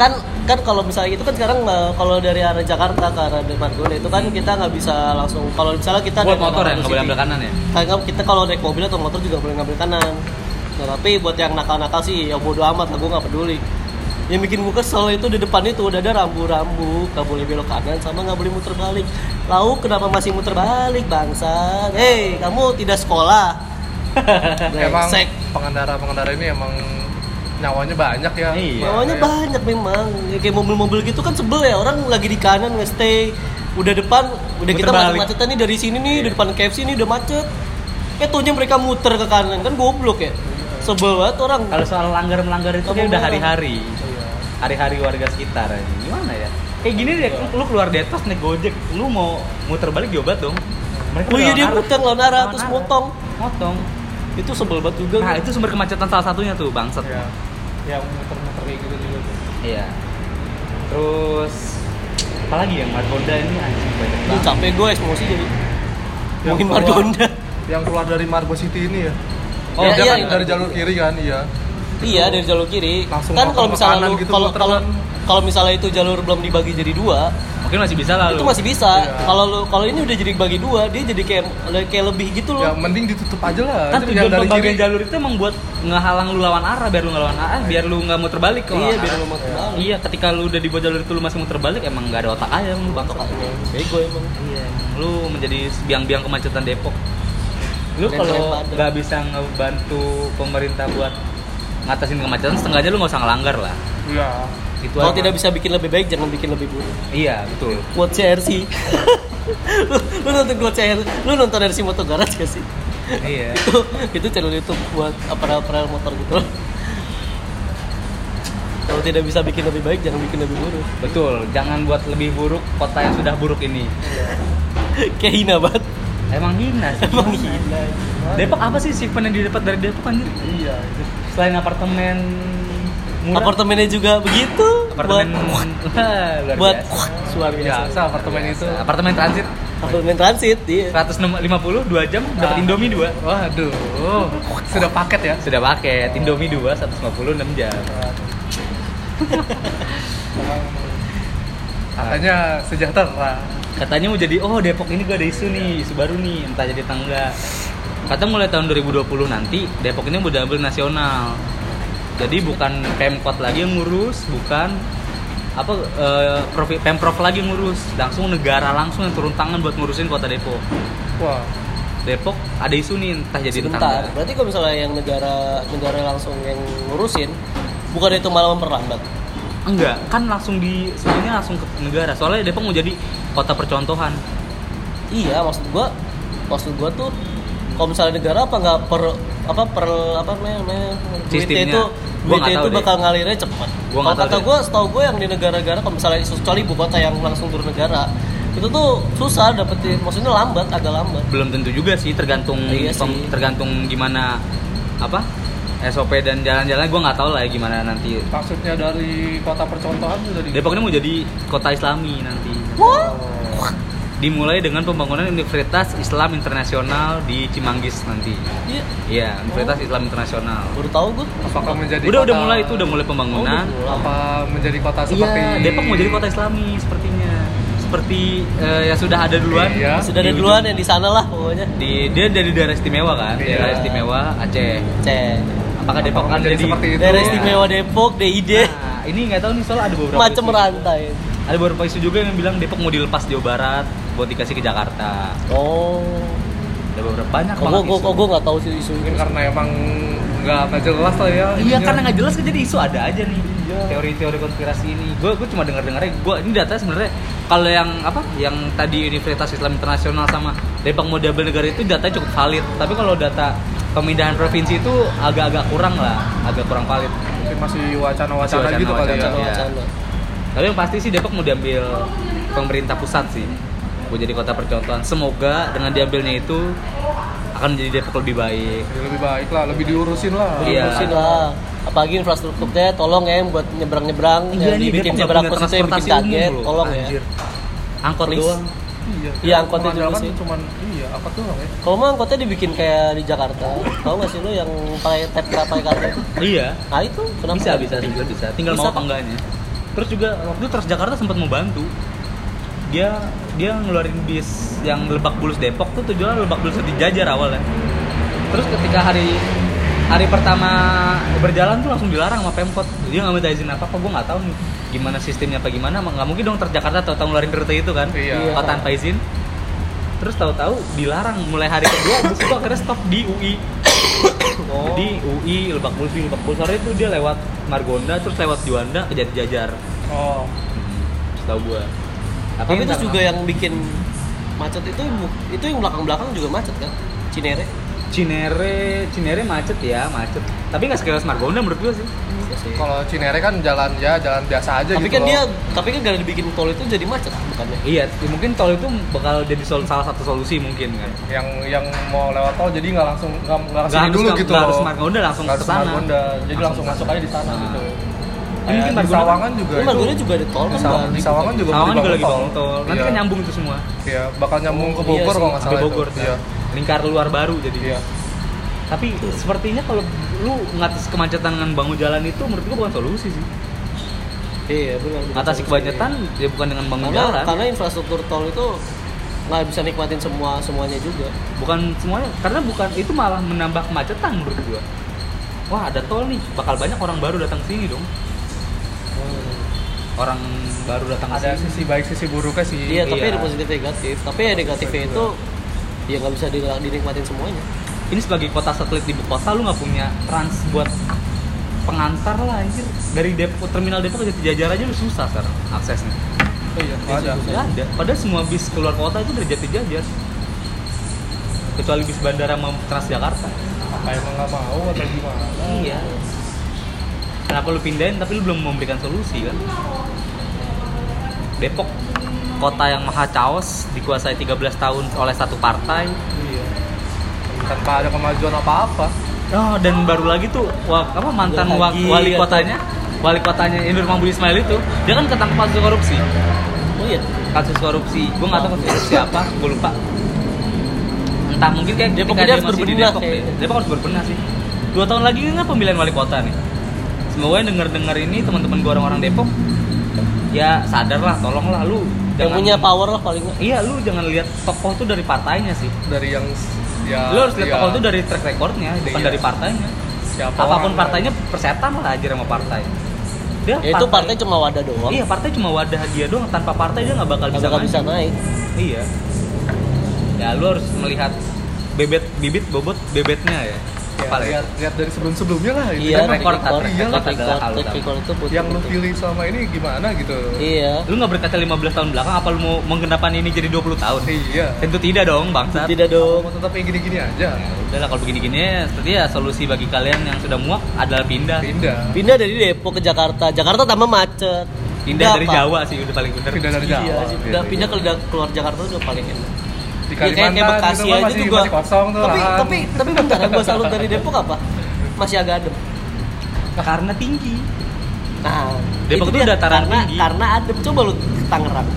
[SPEAKER 2] kan kan kalau misalnya itu kan sekarang eh, kalau dari arah Jakarta ke arah Margonda itu kan kita nggak bisa langsung kalau misalnya kita
[SPEAKER 1] Hmm. buat
[SPEAKER 2] dari
[SPEAKER 1] motor ya
[SPEAKER 2] Margonda
[SPEAKER 1] nggak boleh
[SPEAKER 2] City.
[SPEAKER 1] ambil kanan ya
[SPEAKER 2] Karena kita kalau naik mobil atau motor juga boleh ngambil kanan. Nah, tapi buat yang nakal-nakal sih ya bodo amat lah gue nggak peduli. Yang bikin gue kesel itu di depan itu udah ada rambu-rambu, nggak boleh belok kanan sama nggak boleh muter balik. Lalu kenapa masih muter balik bangsa? Hei, kamu tidak sekolah.
[SPEAKER 3] Emang
[SPEAKER 2] Brengsek.
[SPEAKER 3] pengendara-pengendara ini emang nyawanya banyak ya
[SPEAKER 1] Iya.
[SPEAKER 2] Bawahnya
[SPEAKER 3] Bahaya.
[SPEAKER 2] banyak memang. Ya, kayak mobil-mobil gitu kan sebel ya orang lagi di kanan nge-stay. Udah depan, udah
[SPEAKER 1] Muter
[SPEAKER 2] kita
[SPEAKER 1] balik.
[SPEAKER 2] macet-macetan nih dari sini nih, di
[SPEAKER 3] Iya.
[SPEAKER 2] depan KFC nih udah macet. Eh taunya mereka muter ke kanan kan goblok ya. Sebel banget orang.
[SPEAKER 1] Kalau soal langgar-melanggar itu
[SPEAKER 2] Kamu
[SPEAKER 1] kayak udah
[SPEAKER 2] marah.
[SPEAKER 1] hari-hari. Hari-hari warga sekitar aja. Gimana ya? Kayak gini deh, lu- lu keluar di atas naik Gojek, lu mau muter balik diobat dong. Mereka
[SPEAKER 2] Oh
[SPEAKER 1] udah
[SPEAKER 2] iya dia
[SPEAKER 1] lawan
[SPEAKER 2] muter lawan arah terus
[SPEAKER 1] Lawan arah.
[SPEAKER 2] motong.
[SPEAKER 1] Motong.
[SPEAKER 2] Itu sebel banget juga.
[SPEAKER 1] Nah, itu sumber kemacetan salah satunya tuh, bangsat.
[SPEAKER 3] Ya, yang muter-muter kayak gitu juga tuh.
[SPEAKER 1] Iya. Terus apalagi yang Margonda ini anjing banyak
[SPEAKER 2] Aduh,
[SPEAKER 1] banget.
[SPEAKER 2] capek gue emosi jadi.
[SPEAKER 3] Yang
[SPEAKER 2] Mungkin
[SPEAKER 3] keluar-
[SPEAKER 2] Margonda.
[SPEAKER 3] yang keluar dari Margo City ini ya
[SPEAKER 1] Oh,
[SPEAKER 2] Ya,
[SPEAKER 3] dia
[SPEAKER 2] iya,
[SPEAKER 3] kan
[SPEAKER 2] iya.
[SPEAKER 3] dari jalur kiri kan iya
[SPEAKER 2] Iya dari jalur kiri.
[SPEAKER 3] Langsung
[SPEAKER 2] kan
[SPEAKER 3] motong
[SPEAKER 2] kalau
[SPEAKER 3] ke
[SPEAKER 2] misalnya
[SPEAKER 3] kanan
[SPEAKER 2] lu-
[SPEAKER 3] gitu,
[SPEAKER 2] kalau
[SPEAKER 3] muter
[SPEAKER 2] kalau
[SPEAKER 3] kan.
[SPEAKER 2] kalau misalnya itu jalur belum dibagi jadi dua,
[SPEAKER 1] Mungkin masih bisa lah
[SPEAKER 2] itu
[SPEAKER 1] lu.
[SPEAKER 2] masih bisa
[SPEAKER 3] Iya.
[SPEAKER 2] kalau lu kalau ini udah jadi bagi dua dia jadi kayak kayak lebih gitu
[SPEAKER 3] ya
[SPEAKER 2] loh
[SPEAKER 3] mending ditutup aja lah
[SPEAKER 1] kan
[SPEAKER 3] Itu
[SPEAKER 1] tujuan pembagian jalur itu emang buat ngehalang lu lawan arah biar lu nggak lawan arah biar lu nggak muter balik kalau
[SPEAKER 2] iya
[SPEAKER 1] lawan
[SPEAKER 2] biar
[SPEAKER 1] arah.
[SPEAKER 2] lu mau terbang
[SPEAKER 1] Iya, ketika lu udah di bawah jalur itu lu masih muter balik emang nggak ada otak aja emang lu bangsat.
[SPEAKER 2] bego emang
[SPEAKER 1] Iya, emang lu menjadi biang-biang kemacetan Depok. Lu
[SPEAKER 2] Keren
[SPEAKER 1] kalau
[SPEAKER 2] banget.
[SPEAKER 1] nggak bisa ngebantu pemerintah buat ngatasin kemacetan, setengahnya lu nggak usah ngelanggar lah.
[SPEAKER 3] ya
[SPEAKER 1] Itu
[SPEAKER 2] kalau
[SPEAKER 1] aja.
[SPEAKER 2] tidak bisa bikin lebih baik jangan bikin lebih buruk
[SPEAKER 1] Iya, betul.
[SPEAKER 2] quote CRC lu, lu nonton quote CRC lu nonton RC Motor Garage gak sih
[SPEAKER 1] iya.
[SPEAKER 2] itu itu channel YouTube buat aparel-aparel motor gitu loh kalau tidak bisa bikin lebih baik jangan bikin lebih buruk
[SPEAKER 1] Betul, jangan buat lebih buruk kota yang sudah buruk ini.
[SPEAKER 2] kayak hina banget
[SPEAKER 1] Emang hina sih.
[SPEAKER 2] emang hina
[SPEAKER 1] Depok apa sih sifat yang didapat dari Depok anjir?
[SPEAKER 3] iya itu.
[SPEAKER 1] Selain apartemen murah,
[SPEAKER 2] apartemennya juga begitu
[SPEAKER 1] apartemen
[SPEAKER 2] Buat-
[SPEAKER 1] Wah, luar
[SPEAKER 2] buat
[SPEAKER 1] biasa.
[SPEAKER 2] luar
[SPEAKER 1] Iya,
[SPEAKER 2] biasa.
[SPEAKER 3] biasa apartemen itu
[SPEAKER 1] apartemen transit
[SPEAKER 2] Apartemen transit, iya.
[SPEAKER 1] 150 2 jam dapat
[SPEAKER 2] Nah.
[SPEAKER 3] Ah.
[SPEAKER 1] Indomie 2
[SPEAKER 3] waduh sudah paket ya
[SPEAKER 1] sudah paket Indomie 2 150 6 jam
[SPEAKER 3] katanya sejahtera
[SPEAKER 1] katanya mau jadi oh Depok ini gua ada isu nih isu baru nih entah jadi tangga kata mulai tahun 2020 nanti Depok ini udah ambil nasional jadi bukan pemkot lagi yang ngurus bukan apa eh, Provi- pemprov lagi yang ngurus langsung negara langsung yang turun tangan buat ngurusin kota Depok
[SPEAKER 3] wah
[SPEAKER 1] Depok ada isu nih entah jadi
[SPEAKER 2] Sebentar.
[SPEAKER 1] tangga
[SPEAKER 2] Berarti kalau misalnya yang negara negara langsung yang ngurusin, bukan itu malah memperlambat.
[SPEAKER 1] enggak kan langsung di sebenarnya langsung ke negara soalnya Depok mau jadi kota percontohan
[SPEAKER 2] Iya, maksud gua maksud gua tuh kalau misalnya negara apa nggak per apa per apa namanya namanya, duitnya
[SPEAKER 1] Sistemnya.
[SPEAKER 2] itu
[SPEAKER 1] Gua nggak
[SPEAKER 2] duitnya
[SPEAKER 1] tahu
[SPEAKER 2] itu
[SPEAKER 1] deh.
[SPEAKER 2] bakal ngalirnya cepat.
[SPEAKER 1] Gua
[SPEAKER 2] Kalau
[SPEAKER 1] nggak tahu
[SPEAKER 2] kata
[SPEAKER 1] deh.
[SPEAKER 2] gua, setahu gua yang di negara-negara kalau misalnya kecuali ibu kota yang langsung turun negara itu tuh susah dapetin maksudnya lambat agak lambat.
[SPEAKER 1] belum tentu juga sih tergantung
[SPEAKER 2] Iya sih.
[SPEAKER 1] pem- tergantung gimana apa SOP dan jalan-jalan gue nggak tahu lah ya gimana nanti
[SPEAKER 3] maksudnya dari kota percontohan sudah di
[SPEAKER 1] Depok ini mau jadi kota Islami nanti
[SPEAKER 2] Wah,
[SPEAKER 1] dimulai dengan pembangunan Universitas Islam Internasional di Cimanggis nanti
[SPEAKER 2] iya,
[SPEAKER 1] iya Universitas Islam Internasional
[SPEAKER 2] baru tahu gua.
[SPEAKER 3] apakah menjadi
[SPEAKER 1] udah udah
[SPEAKER 3] kota-
[SPEAKER 1] mulai itu udah mulai pembangunan
[SPEAKER 2] Oh, udah mulai.
[SPEAKER 3] apa menjadi kota seperti
[SPEAKER 1] iya Depok mau jadi kota Islami sepertinya seperti eh, yang sudah ada duluan
[SPEAKER 3] Iya.
[SPEAKER 2] Sudah ada
[SPEAKER 1] Di
[SPEAKER 2] duluan
[SPEAKER 1] ujung.
[SPEAKER 2] yang di sana lah pokoknya.
[SPEAKER 1] di dia dari daerah istimewa kan
[SPEAKER 3] Iya.
[SPEAKER 1] daerah istimewa Aceh
[SPEAKER 2] Cek.
[SPEAKER 1] apakah Depok akan
[SPEAKER 3] menjadi
[SPEAKER 1] jadi
[SPEAKER 3] seperti itu?
[SPEAKER 2] Daerah istimewa Depok, DID,
[SPEAKER 1] Nah, ini nggak tahu nih soal ada beberapa
[SPEAKER 2] macem
[SPEAKER 1] isu.
[SPEAKER 2] rantai.
[SPEAKER 1] Ada beberapa isu juga yang bilang Depok mau dilepas Jawa Barat buat dikasih ke Jakarta.
[SPEAKER 2] Oh.
[SPEAKER 1] Ada beberapa banyak
[SPEAKER 2] Kok
[SPEAKER 1] banget
[SPEAKER 2] gue
[SPEAKER 1] isu.
[SPEAKER 2] gue nggak tahu sih isu
[SPEAKER 3] mungkin karena emang nggak nggak jelas lah ya
[SPEAKER 1] Iya
[SPEAKER 3] ininya.
[SPEAKER 1] karena nggak jelas kan jadi isu ada aja nih
[SPEAKER 3] Iya.
[SPEAKER 1] teori-teori konspirasi ini. Gue gue cuma dengar dengarnya. Gue ini data sebenarnya kalau yang apa yang tadi Universitas Islam Internasional sama Depok mau double negara itu datanya cukup valid. Tapi kalau data pemindahan provinsi itu agak-agak kurang lah, agak kurang valid.
[SPEAKER 3] mungkin masih wacana-wacana
[SPEAKER 1] Masih
[SPEAKER 3] gitu kali ya
[SPEAKER 1] wacana-wacana. iya.
[SPEAKER 2] wacana-wacana.
[SPEAKER 1] Tapi yang pasti sih Depok mau diambil pemerintah pusat sih. Mau jadi kota percontohan. Semoga dengan diambilnya itu akan menjadi Depok lebih baik.
[SPEAKER 3] Jadi Ya, lebih baik lah lebih diurusin lah
[SPEAKER 1] Iya.
[SPEAKER 2] Diurusin lah. Apalagi infrastrukturnya tolong ya yang buat nyebrang-nyebrang
[SPEAKER 1] Iya
[SPEAKER 2] yang
[SPEAKER 1] nih, Depok
[SPEAKER 2] dibikin
[SPEAKER 1] nggak
[SPEAKER 2] nyebrang
[SPEAKER 1] punya
[SPEAKER 2] khususnya yang bikin
[SPEAKER 1] transportasi umum
[SPEAKER 2] kaget,
[SPEAKER 1] loh.
[SPEAKER 2] tolong ya.
[SPEAKER 1] Anjir. Angkot
[SPEAKER 2] Please.
[SPEAKER 1] doang.
[SPEAKER 3] iya
[SPEAKER 2] Iya, angkotnya
[SPEAKER 3] mengandalkan
[SPEAKER 2] diurusin.
[SPEAKER 3] cuman iya apa tuh ya
[SPEAKER 2] Kalau mah angkotnya dibikin kayak di Jakarta, tahu nggak sih lo yang pakai tap pakai kartu?
[SPEAKER 1] Iya.
[SPEAKER 2] Nah itu kenapa?
[SPEAKER 1] Bisa bisa juga bisa. Tinggal
[SPEAKER 2] Bisa
[SPEAKER 1] mau
[SPEAKER 2] kok.
[SPEAKER 1] apa enggaknya. Terus juga waktu itu Transjakarta sempat mau bantu. Dia dia ngeluarin bis yang Lebak Bulus Depok tuh tujuannya Lebak Bulus di Jajar awalnya. Terus ketika hari hari pertama berjalan tuh langsung dilarang sama Pemkot. Dia nggak minta izin apa-apa, gue nggak tahu nih gimana sistemnya apa gimana. Nggak mungkin dong Transjakarta tahu-tahu ngeluarin rute itu kan.
[SPEAKER 3] Iya.
[SPEAKER 1] Kalau tanpa izin. Terus tahu-tahu dilarang mulai hari kedua bus itu akhirnya stop di UI. Jadi UI Lebak Bulus di Lebak Bulus sore itu dia lewat Margonda terus lewat Juanda ke Jati Jajar.
[SPEAKER 3] oh
[SPEAKER 1] Setahu gua.
[SPEAKER 2] Tapi
[SPEAKER 1] entah
[SPEAKER 2] terus juga
[SPEAKER 1] kenapa.
[SPEAKER 2] yang bikin macet itu bu- itu yang belakang-belakang juga macet kan? Cinere.
[SPEAKER 1] Iya Cinere Cinere macet ya, macet. Tapi nggak sekelas Margonda menurut gua sih.
[SPEAKER 2] Juga sih.
[SPEAKER 3] kalau Cinere kan jalan ya jalan biasa aja
[SPEAKER 2] Tapi
[SPEAKER 3] gitu
[SPEAKER 2] kan
[SPEAKER 3] loh.
[SPEAKER 2] dia, tapi kan gara dibikin tol itu jadi macet bukannya?
[SPEAKER 1] Iya, ya mungkin tol itu bakal jadi sol- salah satu solusi mungkin kan.
[SPEAKER 3] yang yang mau lewat tol jadi nggak langsung nggak nggak
[SPEAKER 1] Nggak
[SPEAKER 3] kesini
[SPEAKER 1] harus
[SPEAKER 3] dulu
[SPEAKER 1] ke-
[SPEAKER 3] gitu
[SPEAKER 1] nggak
[SPEAKER 3] loh.
[SPEAKER 1] harus Margonda, langsung
[SPEAKER 3] Nggak
[SPEAKER 1] ke
[SPEAKER 3] harus
[SPEAKER 1] sana.
[SPEAKER 3] Margonda, jadi
[SPEAKER 1] Langsung
[SPEAKER 3] langsung
[SPEAKER 1] ke
[SPEAKER 3] masuk
[SPEAKER 1] sana.
[SPEAKER 3] aja di sana
[SPEAKER 1] Nah.
[SPEAKER 3] gitu
[SPEAKER 1] Ini mungkin
[SPEAKER 3] Kayak di
[SPEAKER 1] Margonda-
[SPEAKER 3] Sawangan
[SPEAKER 2] Ini
[SPEAKER 3] juga Iya, itu.
[SPEAKER 2] Margonda juga ada tol
[SPEAKER 3] Di
[SPEAKER 2] kan?
[SPEAKER 3] Sawangan,
[SPEAKER 2] Bang?
[SPEAKER 3] Iya, di Sawangan juga
[SPEAKER 1] Sawangan kan juga lagi
[SPEAKER 3] dibangun
[SPEAKER 1] bangun tol. Nanti
[SPEAKER 3] Iya.
[SPEAKER 1] kan nyambung itu semua.
[SPEAKER 3] Iya, bakal nyambung ke
[SPEAKER 2] Iya
[SPEAKER 3] Bogor
[SPEAKER 2] sih,
[SPEAKER 3] kalau nggak
[SPEAKER 1] Sampai
[SPEAKER 3] salah itu.
[SPEAKER 1] Bogor. kan.
[SPEAKER 3] Iya.
[SPEAKER 1] Lingkar luar baru jadi.
[SPEAKER 3] Iya.
[SPEAKER 1] Tapi sepertinya kalau lu ngatas kemacetan dengan bangun jalan itu menurut gua bukan solusi sih.
[SPEAKER 2] Iya benar. bukan
[SPEAKER 1] Ngatasi
[SPEAKER 2] solusi.
[SPEAKER 1] kemacetan ya bukan dengan bangun
[SPEAKER 2] karena
[SPEAKER 1] jalan.
[SPEAKER 2] karena infrastruktur tol itu nggak bisa nikmatin semua semuanya juga
[SPEAKER 1] Bukan semuanya karena bukan itu malah menambah kemacetan menurut gua. Wah, ada tol nih, bakal banyak orang baru datang sini dong. Orang baru datang ke
[SPEAKER 3] Ada
[SPEAKER 1] sini.
[SPEAKER 3] sisi baik sisi buruknya sih.
[SPEAKER 2] iya tapi
[SPEAKER 1] Iya.
[SPEAKER 2] ada positif negatif tapi yang negatifnya itu ya nggak bisa di- dinikmatin semuanya
[SPEAKER 1] Ini sebagai kota satelit di ibu kota lu nggak punya trans buat pengantar lah anjir. Dari Depok terminal Depok ke Jatijajar aja lu susah sekarang aksesnya.
[SPEAKER 3] Iya, ada.
[SPEAKER 1] Nggak ada. Padahal semua bis keluar kota itu dari Jatijajar. Kecuali bis bandara mau Transjakarta.
[SPEAKER 3] Apa emang nggak mau atau gimana?
[SPEAKER 1] Iya. Kenapa lu pindahin tapi lu belum memberikan solusi kan? Depok kota yang maha caos dikuasai 13 tahun oleh satu partai.
[SPEAKER 3] Iya. Tanpa ada kemajuan apa-apa.
[SPEAKER 1] Oh, dan baru lagi tuh wa- apa mantan
[SPEAKER 2] Lagi
[SPEAKER 1] wa- wali
[SPEAKER 2] atau-
[SPEAKER 1] kotanya wali kotanya Indur Mambudi Ismail itu dia kan ketangkep kasus korupsi
[SPEAKER 2] oh iya
[SPEAKER 1] kasus korupsi gue nggak tahu kasus korupsi apa gue lupa entah mungkin kayak
[SPEAKER 2] Depok
[SPEAKER 1] ketika
[SPEAKER 2] dia harus
[SPEAKER 1] masih di
[SPEAKER 2] berbenah
[SPEAKER 1] Depok,
[SPEAKER 2] kayaknya.
[SPEAKER 1] deh. Depok harus berbenah sih dua tahun lagi kan pemilihan wali kota nih semoga yang denger dengar ini teman-teman gue orang-orang Depok ya sadarlah tolonglah lu
[SPEAKER 2] yang punya power lah paling nggak.
[SPEAKER 1] iya lu jangan lihat tokoh tuh dari partainya sih
[SPEAKER 3] dari yang s- ya
[SPEAKER 1] lu harus lihat
[SPEAKER 3] ya,
[SPEAKER 1] tokoh tuh dari track recordnya bukan
[SPEAKER 3] Iya.
[SPEAKER 1] dari partainya
[SPEAKER 3] siapa
[SPEAKER 1] apapun
[SPEAKER 3] orangnya.
[SPEAKER 1] partainya persetan lah aja sama partai dia
[SPEAKER 2] ya itu partai cuma wadah doang
[SPEAKER 1] iya partai cuma wadah dia doang tanpa partai dia nggak bakal
[SPEAKER 2] nggak
[SPEAKER 1] bisa
[SPEAKER 2] bakal
[SPEAKER 1] maju.
[SPEAKER 2] bisa naik
[SPEAKER 1] Iya. Ya lu harus melihat bebet bibit bobot bebetnya ya.
[SPEAKER 3] Ya,
[SPEAKER 1] Apa ya?
[SPEAKER 3] lihat, lihat dari sebelum sebelumnya lah itu
[SPEAKER 1] Iya,
[SPEAKER 3] kan.
[SPEAKER 1] rekor,
[SPEAKER 2] record,
[SPEAKER 1] track
[SPEAKER 3] iya lah.
[SPEAKER 2] record,
[SPEAKER 1] record adalah hal
[SPEAKER 2] record,
[SPEAKER 1] utama.
[SPEAKER 2] record itu butuh-
[SPEAKER 3] yang lu
[SPEAKER 2] butuh.
[SPEAKER 3] pilih selama ini gimana gitu
[SPEAKER 2] iya
[SPEAKER 1] Lu nggak berkaca 15 tahun belakang apa lu mau menggenapkan ini jadi 20 tahun?
[SPEAKER 3] iya
[SPEAKER 1] Tentu tidak dong, bangsa.
[SPEAKER 2] tidak dong
[SPEAKER 3] mau tetap yang gini-gini aja
[SPEAKER 1] Udah lah kalau begini-gini seperti ya solusi bagi kalian yang sudah muak adalah pindah.
[SPEAKER 3] pindah
[SPEAKER 2] pindah dari Depok ke Jakarta Jakarta tambah macet
[SPEAKER 1] Pindah dari
[SPEAKER 2] apa?
[SPEAKER 1] Jawa sih udah paling bener.
[SPEAKER 3] pindah dari Jawa
[SPEAKER 2] iya sih. Udah
[SPEAKER 3] Gitu.
[SPEAKER 2] pindah ke keluar Jakarta tuh udah paling enak
[SPEAKER 1] Iya,
[SPEAKER 3] di
[SPEAKER 2] Ya, kayak,
[SPEAKER 3] Kalimantan
[SPEAKER 2] kayak Bekasi
[SPEAKER 3] gitu kan
[SPEAKER 2] aja
[SPEAKER 3] masih,
[SPEAKER 2] tuh gua.
[SPEAKER 3] masih kosong tuh kan.
[SPEAKER 2] tapi,
[SPEAKER 3] lahan.
[SPEAKER 2] tapi tapi bentar yang gua salut dari Depok apa? Masih agak adem.
[SPEAKER 1] Karena tinggi.
[SPEAKER 2] Nah,
[SPEAKER 1] Depok
[SPEAKER 2] itu
[SPEAKER 1] tuh
[SPEAKER 2] dia.
[SPEAKER 1] dataran
[SPEAKER 2] karena,
[SPEAKER 1] tinggi.
[SPEAKER 2] Karena adem. Coba lu ke Tangerang.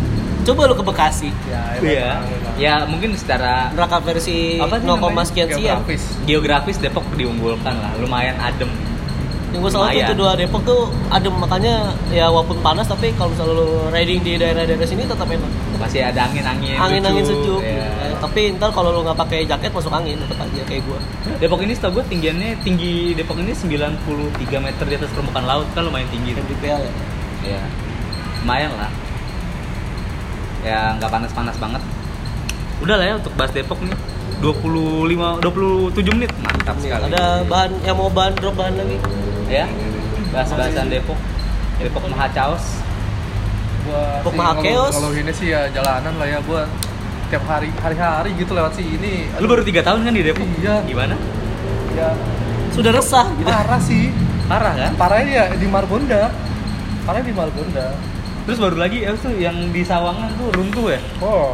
[SPEAKER 2] Coba lu ke Bekasi.
[SPEAKER 3] ya,
[SPEAKER 1] Iya.
[SPEAKER 3] emang.
[SPEAKER 1] Ya mungkin secara
[SPEAKER 2] Neraka versi
[SPEAKER 1] Apa sih
[SPEAKER 2] 0,
[SPEAKER 1] namanya?
[SPEAKER 2] sekian sekian.
[SPEAKER 3] Geografis.
[SPEAKER 1] geografis Depok diunggulkan lah, lumayan adem.
[SPEAKER 2] Yang gua salut tuh
[SPEAKER 1] Lumayan.
[SPEAKER 2] itu dua Depok tuh adem makanya ya walaupun panas tapi kalau misalnya lu riding di daerah-daerah sini tetap enak.
[SPEAKER 1] Masih ada angin-angin
[SPEAKER 2] Angin-angin sejuk.
[SPEAKER 1] ya.
[SPEAKER 2] Eh, Tapi ntar kalau lu nggak pakai jaket masuk angin tetap aja kayak gua.
[SPEAKER 1] Depok ini setahu gue tinggiannya tinggi Depok ini 93 meter di atas permukaan laut kan lumayan tinggi tuh.
[SPEAKER 2] MDPL ya.
[SPEAKER 1] Ya. Lumayan lah. Ya nggak panas-panas banget. Udah lah ya untuk bahas Depok nih. 25 27 menit
[SPEAKER 2] Iya.
[SPEAKER 1] mantap sekali.
[SPEAKER 2] Ada bahan yang mau bahan drop bahan lagi.
[SPEAKER 1] ya. Bahas-bahasan Depok. Depok Maha Chaos.
[SPEAKER 3] gua
[SPEAKER 2] Untuk maha chaos.
[SPEAKER 3] kalau ini sih ya jalanan lah ya gua tiap hari hari-hari gitu lewat sini
[SPEAKER 1] Lu baru 3 tahun kan di Depok?
[SPEAKER 3] Iya.
[SPEAKER 1] Gimana?
[SPEAKER 3] ya
[SPEAKER 2] Sudah resah gitu.
[SPEAKER 3] parah sih
[SPEAKER 1] Parah kan?
[SPEAKER 3] parahnya ya di Margonda parahnya di Margonda
[SPEAKER 1] Terus baru lagi ya tuh yang di Sawangan tuh runtuh ya.
[SPEAKER 3] oh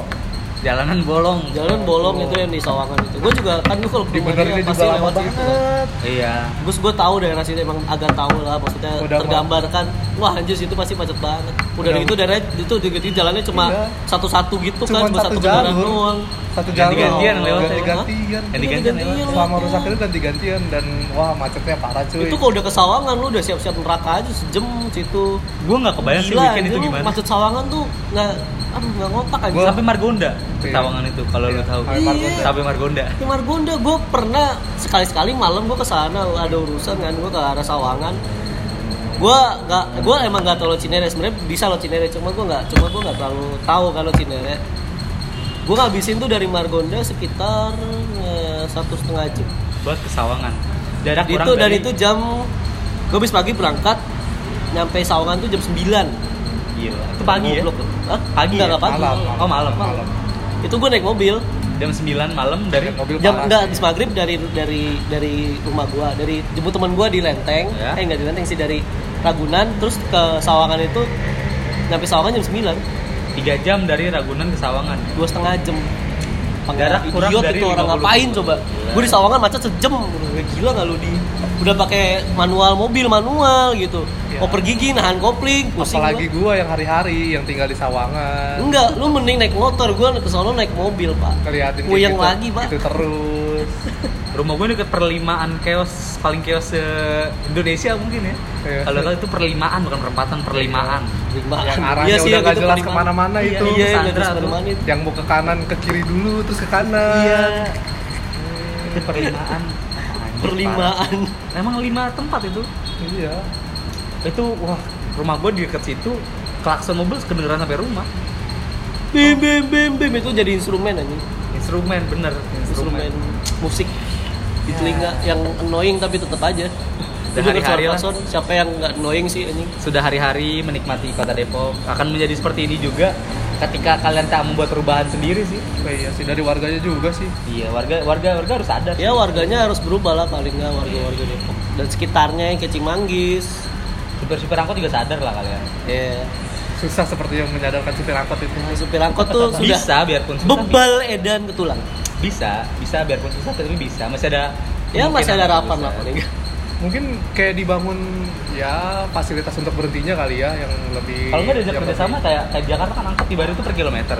[SPEAKER 1] Jalanan bolong.
[SPEAKER 2] Jalan bolong itu yang di Sawangan itu. Gue juga kan gue kalau ke rumah
[SPEAKER 3] dibenerin
[SPEAKER 2] dia
[SPEAKER 3] juga lama banget
[SPEAKER 1] Iya.
[SPEAKER 2] Terus gue tahu daerah situ emang agak tahu lah maksudnya
[SPEAKER 3] Udah mau-
[SPEAKER 2] tergambarkan wah anjir situ pasti macet banget. Udah
[SPEAKER 3] Udah-
[SPEAKER 2] gitu daerah itu juga di jalannya cuma
[SPEAKER 3] Iya.
[SPEAKER 2] satu-satu gitu
[SPEAKER 3] cuma
[SPEAKER 2] kan, cuma
[SPEAKER 3] satu
[SPEAKER 2] satu kendaraan
[SPEAKER 3] jalur
[SPEAKER 2] doang.
[SPEAKER 3] satu jalur
[SPEAKER 1] Ganti-gantian lewat.
[SPEAKER 2] ya?
[SPEAKER 3] ganti-gantian
[SPEAKER 1] Yang diganti
[SPEAKER 2] Ganti-gantian.
[SPEAKER 1] lewat.
[SPEAKER 3] selama rusak itu ganti-gantian dan wah macetnya parah cuy
[SPEAKER 2] Itu kalau udah ke Sawangan lu udah siap-siap neraka aja sejam situ.
[SPEAKER 1] Gue nggak kebayang sih
[SPEAKER 2] Gila,
[SPEAKER 1] weekend
[SPEAKER 2] anjir,
[SPEAKER 1] itu
[SPEAKER 2] lu
[SPEAKER 1] gimana.
[SPEAKER 2] Macet Sawangan tuh nggak aduh nggak ngotak aja.
[SPEAKER 3] Gua-
[SPEAKER 1] Sampai Margonda,
[SPEAKER 3] Iya.
[SPEAKER 1] Tawangan itu kalau lu tahu.
[SPEAKER 3] Sampai Margonda.
[SPEAKER 1] Sampai Margonda.
[SPEAKER 2] Di Margonda gue pernah sekali-sekali malam gue kesana ada urusan kan gue ke arah Sawangan gue nggak gue emang nggak tahu Lo Cinere sebenarnya bisa Lo Cinere cuma gue nggak cuma gue nggak terlalu tahu kalau Cinere gue ngabisin tuh dari Margonda sekitar eh, satu setengah jam
[SPEAKER 1] Buat ke Sawangan. Jarak kurang
[SPEAKER 2] itu dari itu jam gue habis pagi berangkat nyampe Sawangan tuh jam 9
[SPEAKER 1] Gila. Itu pagi ya.
[SPEAKER 2] Goblok. Hah?
[SPEAKER 1] Pagi ya?
[SPEAKER 2] Nggak, nggak pagi.
[SPEAKER 3] Malam.
[SPEAKER 1] Oh malam.
[SPEAKER 3] Malam.
[SPEAKER 2] itu gue naik mobil
[SPEAKER 1] Jam 9 malam dari
[SPEAKER 3] mobil
[SPEAKER 2] jam
[SPEAKER 3] parah
[SPEAKER 2] enggak
[SPEAKER 3] sih.
[SPEAKER 2] habis maghrib dari dari dari rumah gua dari jemput teman gua di Lenteng
[SPEAKER 1] Ya.
[SPEAKER 2] eh enggak di Lenteng sih dari Ragunan terus ke Sawangan itu nyampe Sawangan jam 9
[SPEAKER 1] 3 jam dari Ragunan ke Sawangan.
[SPEAKER 2] dua setengah jam
[SPEAKER 1] Jarak kurang
[SPEAKER 2] idiot
[SPEAKER 1] dari
[SPEAKER 2] itu orang
[SPEAKER 1] 50.
[SPEAKER 2] ngapain coba
[SPEAKER 3] Iya.
[SPEAKER 1] Gila.
[SPEAKER 2] gua di Sawangan macet sejam gila nggak lu di udah pakai manual mobil manual gitu
[SPEAKER 3] Ya.
[SPEAKER 2] oper gigi nahan kopling pusing gua.
[SPEAKER 3] apalagi
[SPEAKER 2] Uh,
[SPEAKER 3] gua yang hari-hari yang tinggal di Sawangan
[SPEAKER 2] enggak lu mending naik motor gua ke sono naik mobil pak
[SPEAKER 3] ngeliatin kayak
[SPEAKER 2] Puyeng
[SPEAKER 3] gitu,
[SPEAKER 2] lagi pak
[SPEAKER 3] gitu terus
[SPEAKER 1] Rumah gue deket perlimaan chaos paling chaos se Indonesia mungkin ya.
[SPEAKER 3] Iya.
[SPEAKER 1] Kalau tahu itu perlimaan bukan perempatan perlimaan.
[SPEAKER 3] yang arahnya udah nggak jelas kemana-mana
[SPEAKER 1] Iya,
[SPEAKER 3] itu
[SPEAKER 2] gitu iya, Iya.
[SPEAKER 1] Sandra
[SPEAKER 2] nggak jelas
[SPEAKER 1] tuh.
[SPEAKER 2] kemana-mana itu.
[SPEAKER 3] yang mau ke kanan ke kiri dulu terus ke kanan
[SPEAKER 1] Itu perlimaan. Apaan sih,
[SPEAKER 2] perlimaan
[SPEAKER 1] Pak? Emang lima tempat itu?
[SPEAKER 3] iya
[SPEAKER 1] Itu wah rumah gue di deket situ klakson mobil kedengeran sampai rumah.
[SPEAKER 2] bim bim bim bim itu jadi instrumen aja
[SPEAKER 1] Instrumen bener
[SPEAKER 2] instrumen musik di telinga yang annoying tapi tetap aja
[SPEAKER 1] Dan
[SPEAKER 2] Itu denger
[SPEAKER 1] hari-hari
[SPEAKER 2] suara
[SPEAKER 1] lah.
[SPEAKER 2] klakson, siapa yang nggak annoying sih ini
[SPEAKER 1] sudah hari-hari menikmati kota Depok akan menjadi seperti ini juga ketika kalian tak membuat perubahan sendiri sih
[SPEAKER 3] Oh iya sih dari warganya juga sih
[SPEAKER 1] iya warga warga warga harus sadar
[SPEAKER 2] ya warganya harus berubah lah paling nggak warga-warga Depok dan sekitarnya yang kecing manggis
[SPEAKER 1] super super angkot juga sadar lah kalian
[SPEAKER 2] ya
[SPEAKER 3] susah seperti yang menyadarkan supir angkot itu
[SPEAKER 2] Nah, supir angkot tuh sudah
[SPEAKER 1] bisa biarpun susah
[SPEAKER 2] bebal edan ke tulang
[SPEAKER 1] bisa bisa biarpun susah tapi bisa masih ada
[SPEAKER 2] ya masih
[SPEAKER 1] kemungkinan
[SPEAKER 2] ada harapan
[SPEAKER 1] bisa.
[SPEAKER 2] lah paling nggak.
[SPEAKER 3] mungkin kayak dibangun ya fasilitas untuk berhentinya kali ya yang lebih
[SPEAKER 1] Kalau nggak diajak
[SPEAKER 3] yang
[SPEAKER 1] kerjasama
[SPEAKER 3] lebih-
[SPEAKER 1] kayak kayak Jakarta kan angkot di Bari itu per kilometer.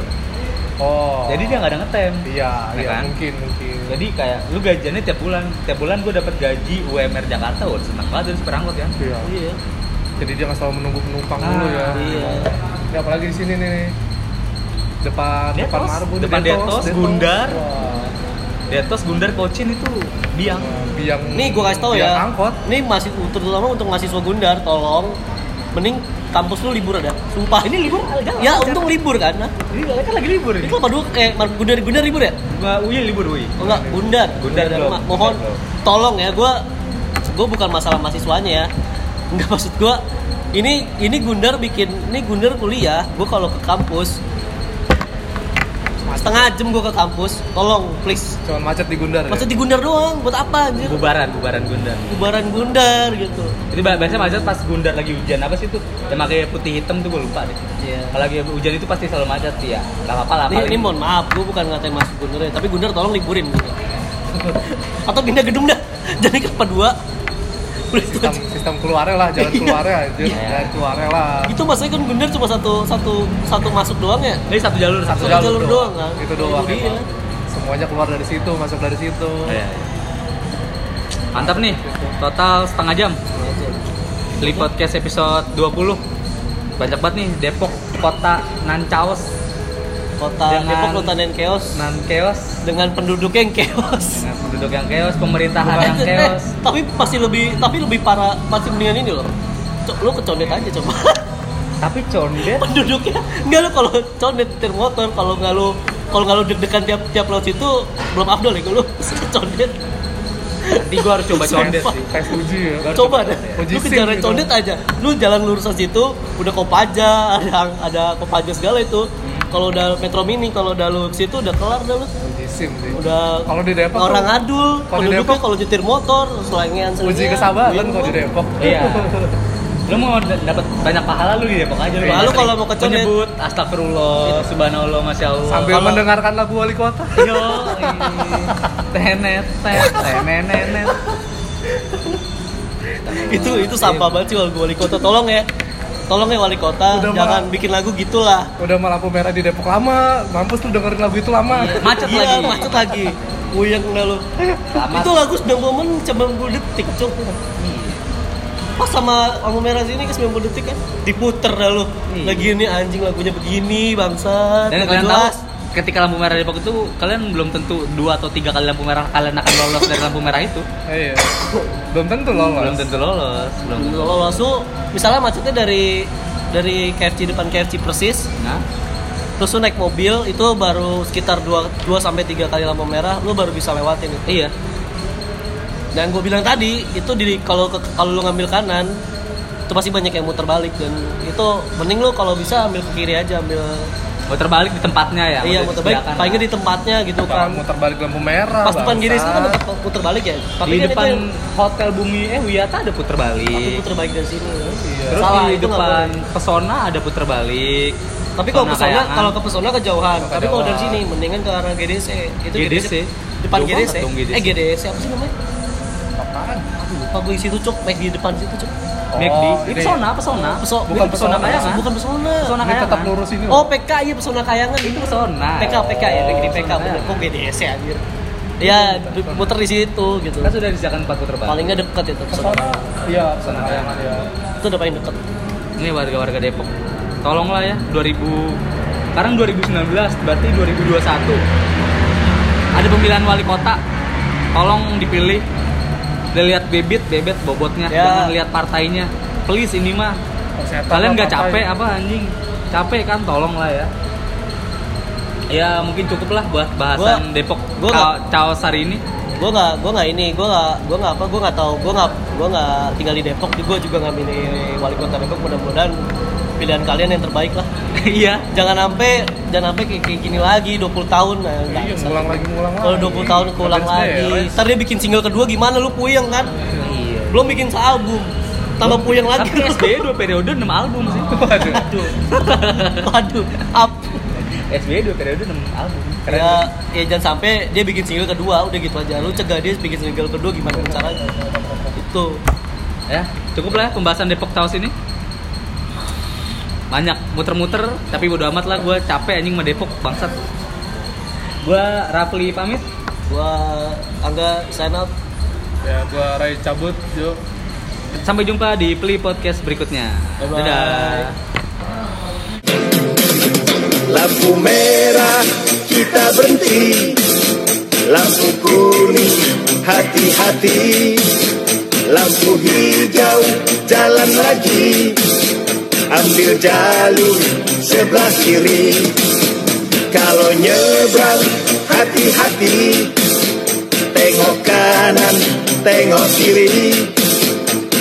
[SPEAKER 3] oh
[SPEAKER 1] Jadi dia nggak ada ngetem.
[SPEAKER 3] iya
[SPEAKER 1] Ya
[SPEAKER 3] iya
[SPEAKER 1] kan?
[SPEAKER 3] mungkin mungkin
[SPEAKER 1] Jadi kayak lu gajiannya tiap bulan, tiap bulan gue dapat gaji UMR Jakarta, wah seneng banget dari perangkot ya.
[SPEAKER 3] iya.
[SPEAKER 2] Iya.
[SPEAKER 3] jadi dia nggak selalu menunggu penumpang dulu ya
[SPEAKER 1] Ah,
[SPEAKER 2] Iya.
[SPEAKER 3] ya apalagi di sini nih depan
[SPEAKER 1] Detos,
[SPEAKER 3] depan Marbun
[SPEAKER 1] depan Detos, Gundar.
[SPEAKER 3] Wah,
[SPEAKER 1] Di atas Bundar Kocin itu biang.
[SPEAKER 3] biang
[SPEAKER 2] Nih gue kasih
[SPEAKER 1] Iya,
[SPEAKER 2] tau
[SPEAKER 3] biang
[SPEAKER 2] ya.
[SPEAKER 3] angkot
[SPEAKER 2] Nih masih terutama untuk mahasiswa Gundar, tolong mending kampus lu libur ada. Sumpah ini libur.
[SPEAKER 1] ada.
[SPEAKER 2] Ya untung libur kan. Nah,
[SPEAKER 1] Ini kan lagi libur
[SPEAKER 2] ini
[SPEAKER 1] ini.
[SPEAKER 2] kenapa dulu kayak Mar- Gundar Gundar libur ya?
[SPEAKER 1] Gua UI libur UI.
[SPEAKER 2] Oh, enggak, Gundar.
[SPEAKER 1] Gundar belum.
[SPEAKER 2] Ma- Mohon
[SPEAKER 1] Gundar
[SPEAKER 2] tolong ya gue gue bukan masalah mahasiswanya ya. Enggak maksud gue ini ini Gundar bikin ini Gundar kuliah. Gue kalau ke kampus setengah jam gue ke kampus, tolong please.
[SPEAKER 3] cuman macet di Gundar
[SPEAKER 1] Iya.
[SPEAKER 2] Masa di Gundar doang, buat apa anjir?
[SPEAKER 1] Bubaran, bubaran Gundar.
[SPEAKER 2] Bubaran Gundar gitu.
[SPEAKER 1] Jadi ba- biasanya macet pas Gundar lagi hujan apa sih tuh? Yang pakai putih hitam tuh gue lupa deh.
[SPEAKER 2] Iya.
[SPEAKER 1] Kalau lagi hujan itu pasti selalu macet sih ya. Gak apa-apa lah.
[SPEAKER 2] Ini,
[SPEAKER 1] paling-
[SPEAKER 2] ini mohon maaf, gue bukan ngatain Mas Gundar ya, tapi Gundar tolong liburin. Gundar. Atau pindah gedung dah, jadi kelapa dua. Udah itu
[SPEAKER 3] sistem
[SPEAKER 2] aja.
[SPEAKER 3] sistem keluarnya lah jalan
[SPEAKER 2] Iya.
[SPEAKER 3] keluarnya aja
[SPEAKER 1] Iya.
[SPEAKER 3] jalan keluarnya lah
[SPEAKER 2] Itu maksudnya kan Gundar cuma satu satu satu masuk doang ya?
[SPEAKER 1] Ini satu jalur, satu
[SPEAKER 2] Satu
[SPEAKER 1] jalur.
[SPEAKER 2] jalur doang, kan?
[SPEAKER 3] itu doang
[SPEAKER 2] Itu dia.
[SPEAKER 3] emang. semuanya keluar dari situ masuk dari situ
[SPEAKER 1] Oh, iya, iya. Mantap nih. Total setengah jam. Li podcast episode 20. Banyak banget nih Depok kota Nancaos
[SPEAKER 2] Kota
[SPEAKER 1] Dengan-
[SPEAKER 2] Depok kota yang chaos
[SPEAKER 1] nan chaos
[SPEAKER 2] dengan penduduknya yang chaos.
[SPEAKER 1] dengan penduduk yang chaos, pemerintahan yang
[SPEAKER 2] Eh, eh,
[SPEAKER 1] chaos.
[SPEAKER 2] tapi pasti lebih tapi lebih parah masih mendingan ini loh. Cok, lu kecondet aja coba.
[SPEAKER 1] Tapi condet
[SPEAKER 2] penduduknya enggak lu kalau condet nyetir motor kalau nggak lu kalau nggak lu deg-degan tiap tiap laut itu belum afdol ya lu condet
[SPEAKER 1] nanti gua harus coba condet sih.
[SPEAKER 3] tes uji ya
[SPEAKER 1] Baru
[SPEAKER 2] coba
[SPEAKER 1] coba
[SPEAKER 2] deh
[SPEAKER 1] ya.
[SPEAKER 3] Uji
[SPEAKER 2] lu
[SPEAKER 3] sim
[SPEAKER 2] kejaran
[SPEAKER 3] gitu.
[SPEAKER 2] condet aja lu jalan lurusan situ udah kopaja ada ada kopaja segala itu kalau udah metro mini kalau udah lu situ udah kelar dah lu
[SPEAKER 3] uji sim sih
[SPEAKER 2] udah
[SPEAKER 3] Kalau di Depok
[SPEAKER 2] orang
[SPEAKER 3] tuh-
[SPEAKER 2] adul
[SPEAKER 3] kalau di
[SPEAKER 2] penduduknya
[SPEAKER 3] Depok-
[SPEAKER 2] kalau nyetir motor selangian
[SPEAKER 3] uji
[SPEAKER 2] selingan.
[SPEAKER 3] kesabaran
[SPEAKER 2] Bingung.
[SPEAKER 3] kalau di Depok
[SPEAKER 1] Iya. Lu mau d- dapat banyak pahala lu di Depok aja lu.
[SPEAKER 3] Iya.
[SPEAKER 1] Pahala
[SPEAKER 2] Lu kalau mau ya. Iya. kecondet.
[SPEAKER 1] menyebut astagfirullah, subhanallah, masya Allah.
[SPEAKER 3] sambil
[SPEAKER 1] Kalau-
[SPEAKER 3] mendengarkan lagu wali kota
[SPEAKER 1] Yo, tenet, tenet, tenet.
[SPEAKER 2] itu itu sampah banget sih kalau gua wali kota tolong ya tolong ya wali kota
[SPEAKER 3] Udah
[SPEAKER 2] jangan
[SPEAKER 3] malah.
[SPEAKER 2] bikin lagu gitulah
[SPEAKER 3] udah malah lampu merah di Depok lama mampus lu dengerin lagu itu lama
[SPEAKER 1] Macet
[SPEAKER 2] Iya,
[SPEAKER 1] lagi.
[SPEAKER 2] macet lagi. Uyang dah lu.
[SPEAKER 1] Selamat.
[SPEAKER 2] Itu lagu 90 menit, 90 detik, Cuk. Pas sama lampu merah sini ke 90 detik kan diputer dah lu.
[SPEAKER 1] Iya.
[SPEAKER 2] Lagi ini anjing lagunya begini, bangsa.
[SPEAKER 1] Dan kalian tahu ketika lampu merah di Depok itu kalian belum tentu dua atau tiga kali lampu merah kalian akan lolos dari lampu merah itu.
[SPEAKER 3] iya belum tentu lolos
[SPEAKER 1] Belum tentu lolos, belum. tentu.
[SPEAKER 2] Lolos lu, misalnya macetnya dari dari KFC depan KFC persis,
[SPEAKER 1] Nah,
[SPEAKER 2] terus lu naik mobil itu baru sekitar 2 2 sampai 3 kali lampu merah, lu baru bisa lewatin itu.
[SPEAKER 1] iya.
[SPEAKER 2] Eh, Dan gue bilang tadi itu di kalau ke- kalau lu ngambil kanan itu pasti banyak yang muter balik dan itu mending lu kalau bisa ambil ke kiri aja ambil
[SPEAKER 1] Muter balik di tempatnya ya.
[SPEAKER 2] iya
[SPEAKER 1] udah
[SPEAKER 2] muter balik
[SPEAKER 1] disediakan.
[SPEAKER 2] palingnya di tempatnya gitu
[SPEAKER 3] Jangan
[SPEAKER 2] kan
[SPEAKER 3] muter balik lampu merah
[SPEAKER 2] pas depan kiri itu
[SPEAKER 3] bangsat.
[SPEAKER 2] kan muter, muter balik ya tapi
[SPEAKER 1] Nah, di
[SPEAKER 2] kan
[SPEAKER 1] depan
[SPEAKER 2] itu yang-
[SPEAKER 1] hotel Bumi eh Wiyata ada puter
[SPEAKER 2] tapi
[SPEAKER 1] balik.
[SPEAKER 2] puter balik dari sini
[SPEAKER 3] Iya.
[SPEAKER 1] Terus
[SPEAKER 2] Salah,
[SPEAKER 1] di
[SPEAKER 2] itu nggak
[SPEAKER 1] depan Pesona ada puter balik.
[SPEAKER 2] tapi kalau
[SPEAKER 1] Pesona
[SPEAKER 2] pesona
[SPEAKER 1] Kayangan.
[SPEAKER 2] kalau ke pesona kejauhan tapi kalau dari
[SPEAKER 3] Kejauhan.
[SPEAKER 2] sini mendingan ke arah GDC itu
[SPEAKER 1] GDC.
[SPEAKER 2] depan
[SPEAKER 1] Jauh banget
[SPEAKER 2] GDC.
[SPEAKER 1] dong GDC.
[SPEAKER 2] eh GDC apa sih namanya
[SPEAKER 3] Apaan?
[SPEAKER 2] Aduh, lupa gue di situ cuk baik di depan situ cuk
[SPEAKER 1] McD.
[SPEAKER 3] Oh,
[SPEAKER 1] Ini
[SPEAKER 3] ini.
[SPEAKER 1] Pesona, Pesona.
[SPEAKER 2] Peso-
[SPEAKER 1] bukan Pesona
[SPEAKER 3] Pesona
[SPEAKER 1] Kayangan.
[SPEAKER 2] bukan pesona
[SPEAKER 1] Pesona
[SPEAKER 3] Ini tetap
[SPEAKER 1] Kayangan.
[SPEAKER 3] lurus ini
[SPEAKER 2] Oh
[SPEAKER 3] loh.
[SPEAKER 2] PK iya pesona kayangan
[SPEAKER 1] Itu Pesona.
[SPEAKER 2] PK PK ya negeri
[SPEAKER 1] Oh,
[SPEAKER 2] PK
[SPEAKER 1] Pesona
[SPEAKER 2] bener
[SPEAKER 1] Kayangan.
[SPEAKER 2] kok GDS ya anjir. Ya muter di situ gitu.
[SPEAKER 1] Kan sudah disediakan empat puter balik.
[SPEAKER 2] Paling nggak deket itu pesona.
[SPEAKER 3] Pesona. Iya, pesona kayangan ya.
[SPEAKER 2] Itu udah paling deket.
[SPEAKER 1] Ini warga-warga Depok. Tolonglah ya 2000 sekarang 2019 berarti 2021 ada pemilihan wali kota tolong dipilih dan lihat bebet bebet bobotnya
[SPEAKER 2] Ya.
[SPEAKER 1] jangan lihat partainya please ini mah
[SPEAKER 3] Kesehatan
[SPEAKER 1] kalian
[SPEAKER 3] lah,
[SPEAKER 1] nggak
[SPEAKER 3] pakai.
[SPEAKER 1] capek apa anjing capek kan tolong lah ya ya mungkin cukup lah buat bahasan
[SPEAKER 2] Gua-
[SPEAKER 1] Depok
[SPEAKER 2] gua
[SPEAKER 1] Cao-
[SPEAKER 2] nggak-
[SPEAKER 1] Caos hari ini
[SPEAKER 2] Gue nggak gue nggak ini gue nggak gue nggak apa gue nggak tahu gue nggak gue nggak tinggal di Depok. Gue juga nggak milih wali kota Depok. Mudah-mudahan pilihan kalian yang terbaik lah.
[SPEAKER 1] iya
[SPEAKER 2] Jangan sampai jangan sampai kayak, kayak gini lagi 20 tahun. Nah, nggak
[SPEAKER 3] Iya,
[SPEAKER 2] bisa.
[SPEAKER 3] ngulang lagi, ngulang lagi. ya,
[SPEAKER 2] Kalau 20 tahun keulang
[SPEAKER 3] Nggak beres
[SPEAKER 2] lagi.
[SPEAKER 1] ya,
[SPEAKER 3] beres.
[SPEAKER 2] Ntar dia bikin single kedua gimana lu puyeng kan?
[SPEAKER 1] iya
[SPEAKER 2] Belum bikin album. Tambah puyeng lagi.
[SPEAKER 1] tapi SBY dua periode 6 album sih
[SPEAKER 3] Waduh.
[SPEAKER 2] Aduh. Waduh, up.
[SPEAKER 1] SBY dua periode 6 album keren
[SPEAKER 2] Ya, ya jangan sampai dia bikin single kedua, udah gitu aja. Lu cegah dia bikin single kedua gimana caranya? Itu tuh
[SPEAKER 1] ya cukup lah pembahasan Depok Taos ini banyak muter-muter tapi bodo amat lah gue capek anjing sama Depok bangsat gue Rafli pamit
[SPEAKER 2] gua angga sign out
[SPEAKER 3] ya gua Ray cabut yuk
[SPEAKER 1] sampai jumpa di Pli Podcast berikutnya
[SPEAKER 2] Bye-bye.
[SPEAKER 1] dadah
[SPEAKER 4] Lampu merah kita berhenti Lampu kuning hati-hati Lampu hijau jalan lagi Ambil jalur sebelah kiri Kalau nyebrang hati-hati Tengok kanan, tengok kiri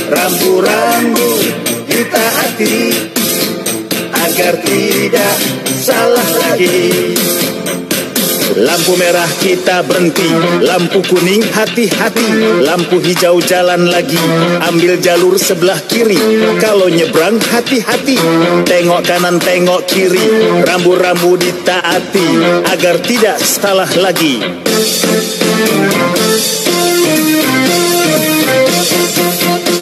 [SPEAKER 4] Rambu-rambu kita hati agar tidak salah lagi. Lampu merah kita berhenti, lampu kuning hati-hati, lampu hijau jalan lagi, ambil jalur sebelah kiri. Kalau nyebrang hati-hati, tengok kanan tengok kiri, rambu-rambu ditaati agar tidak salah lagi.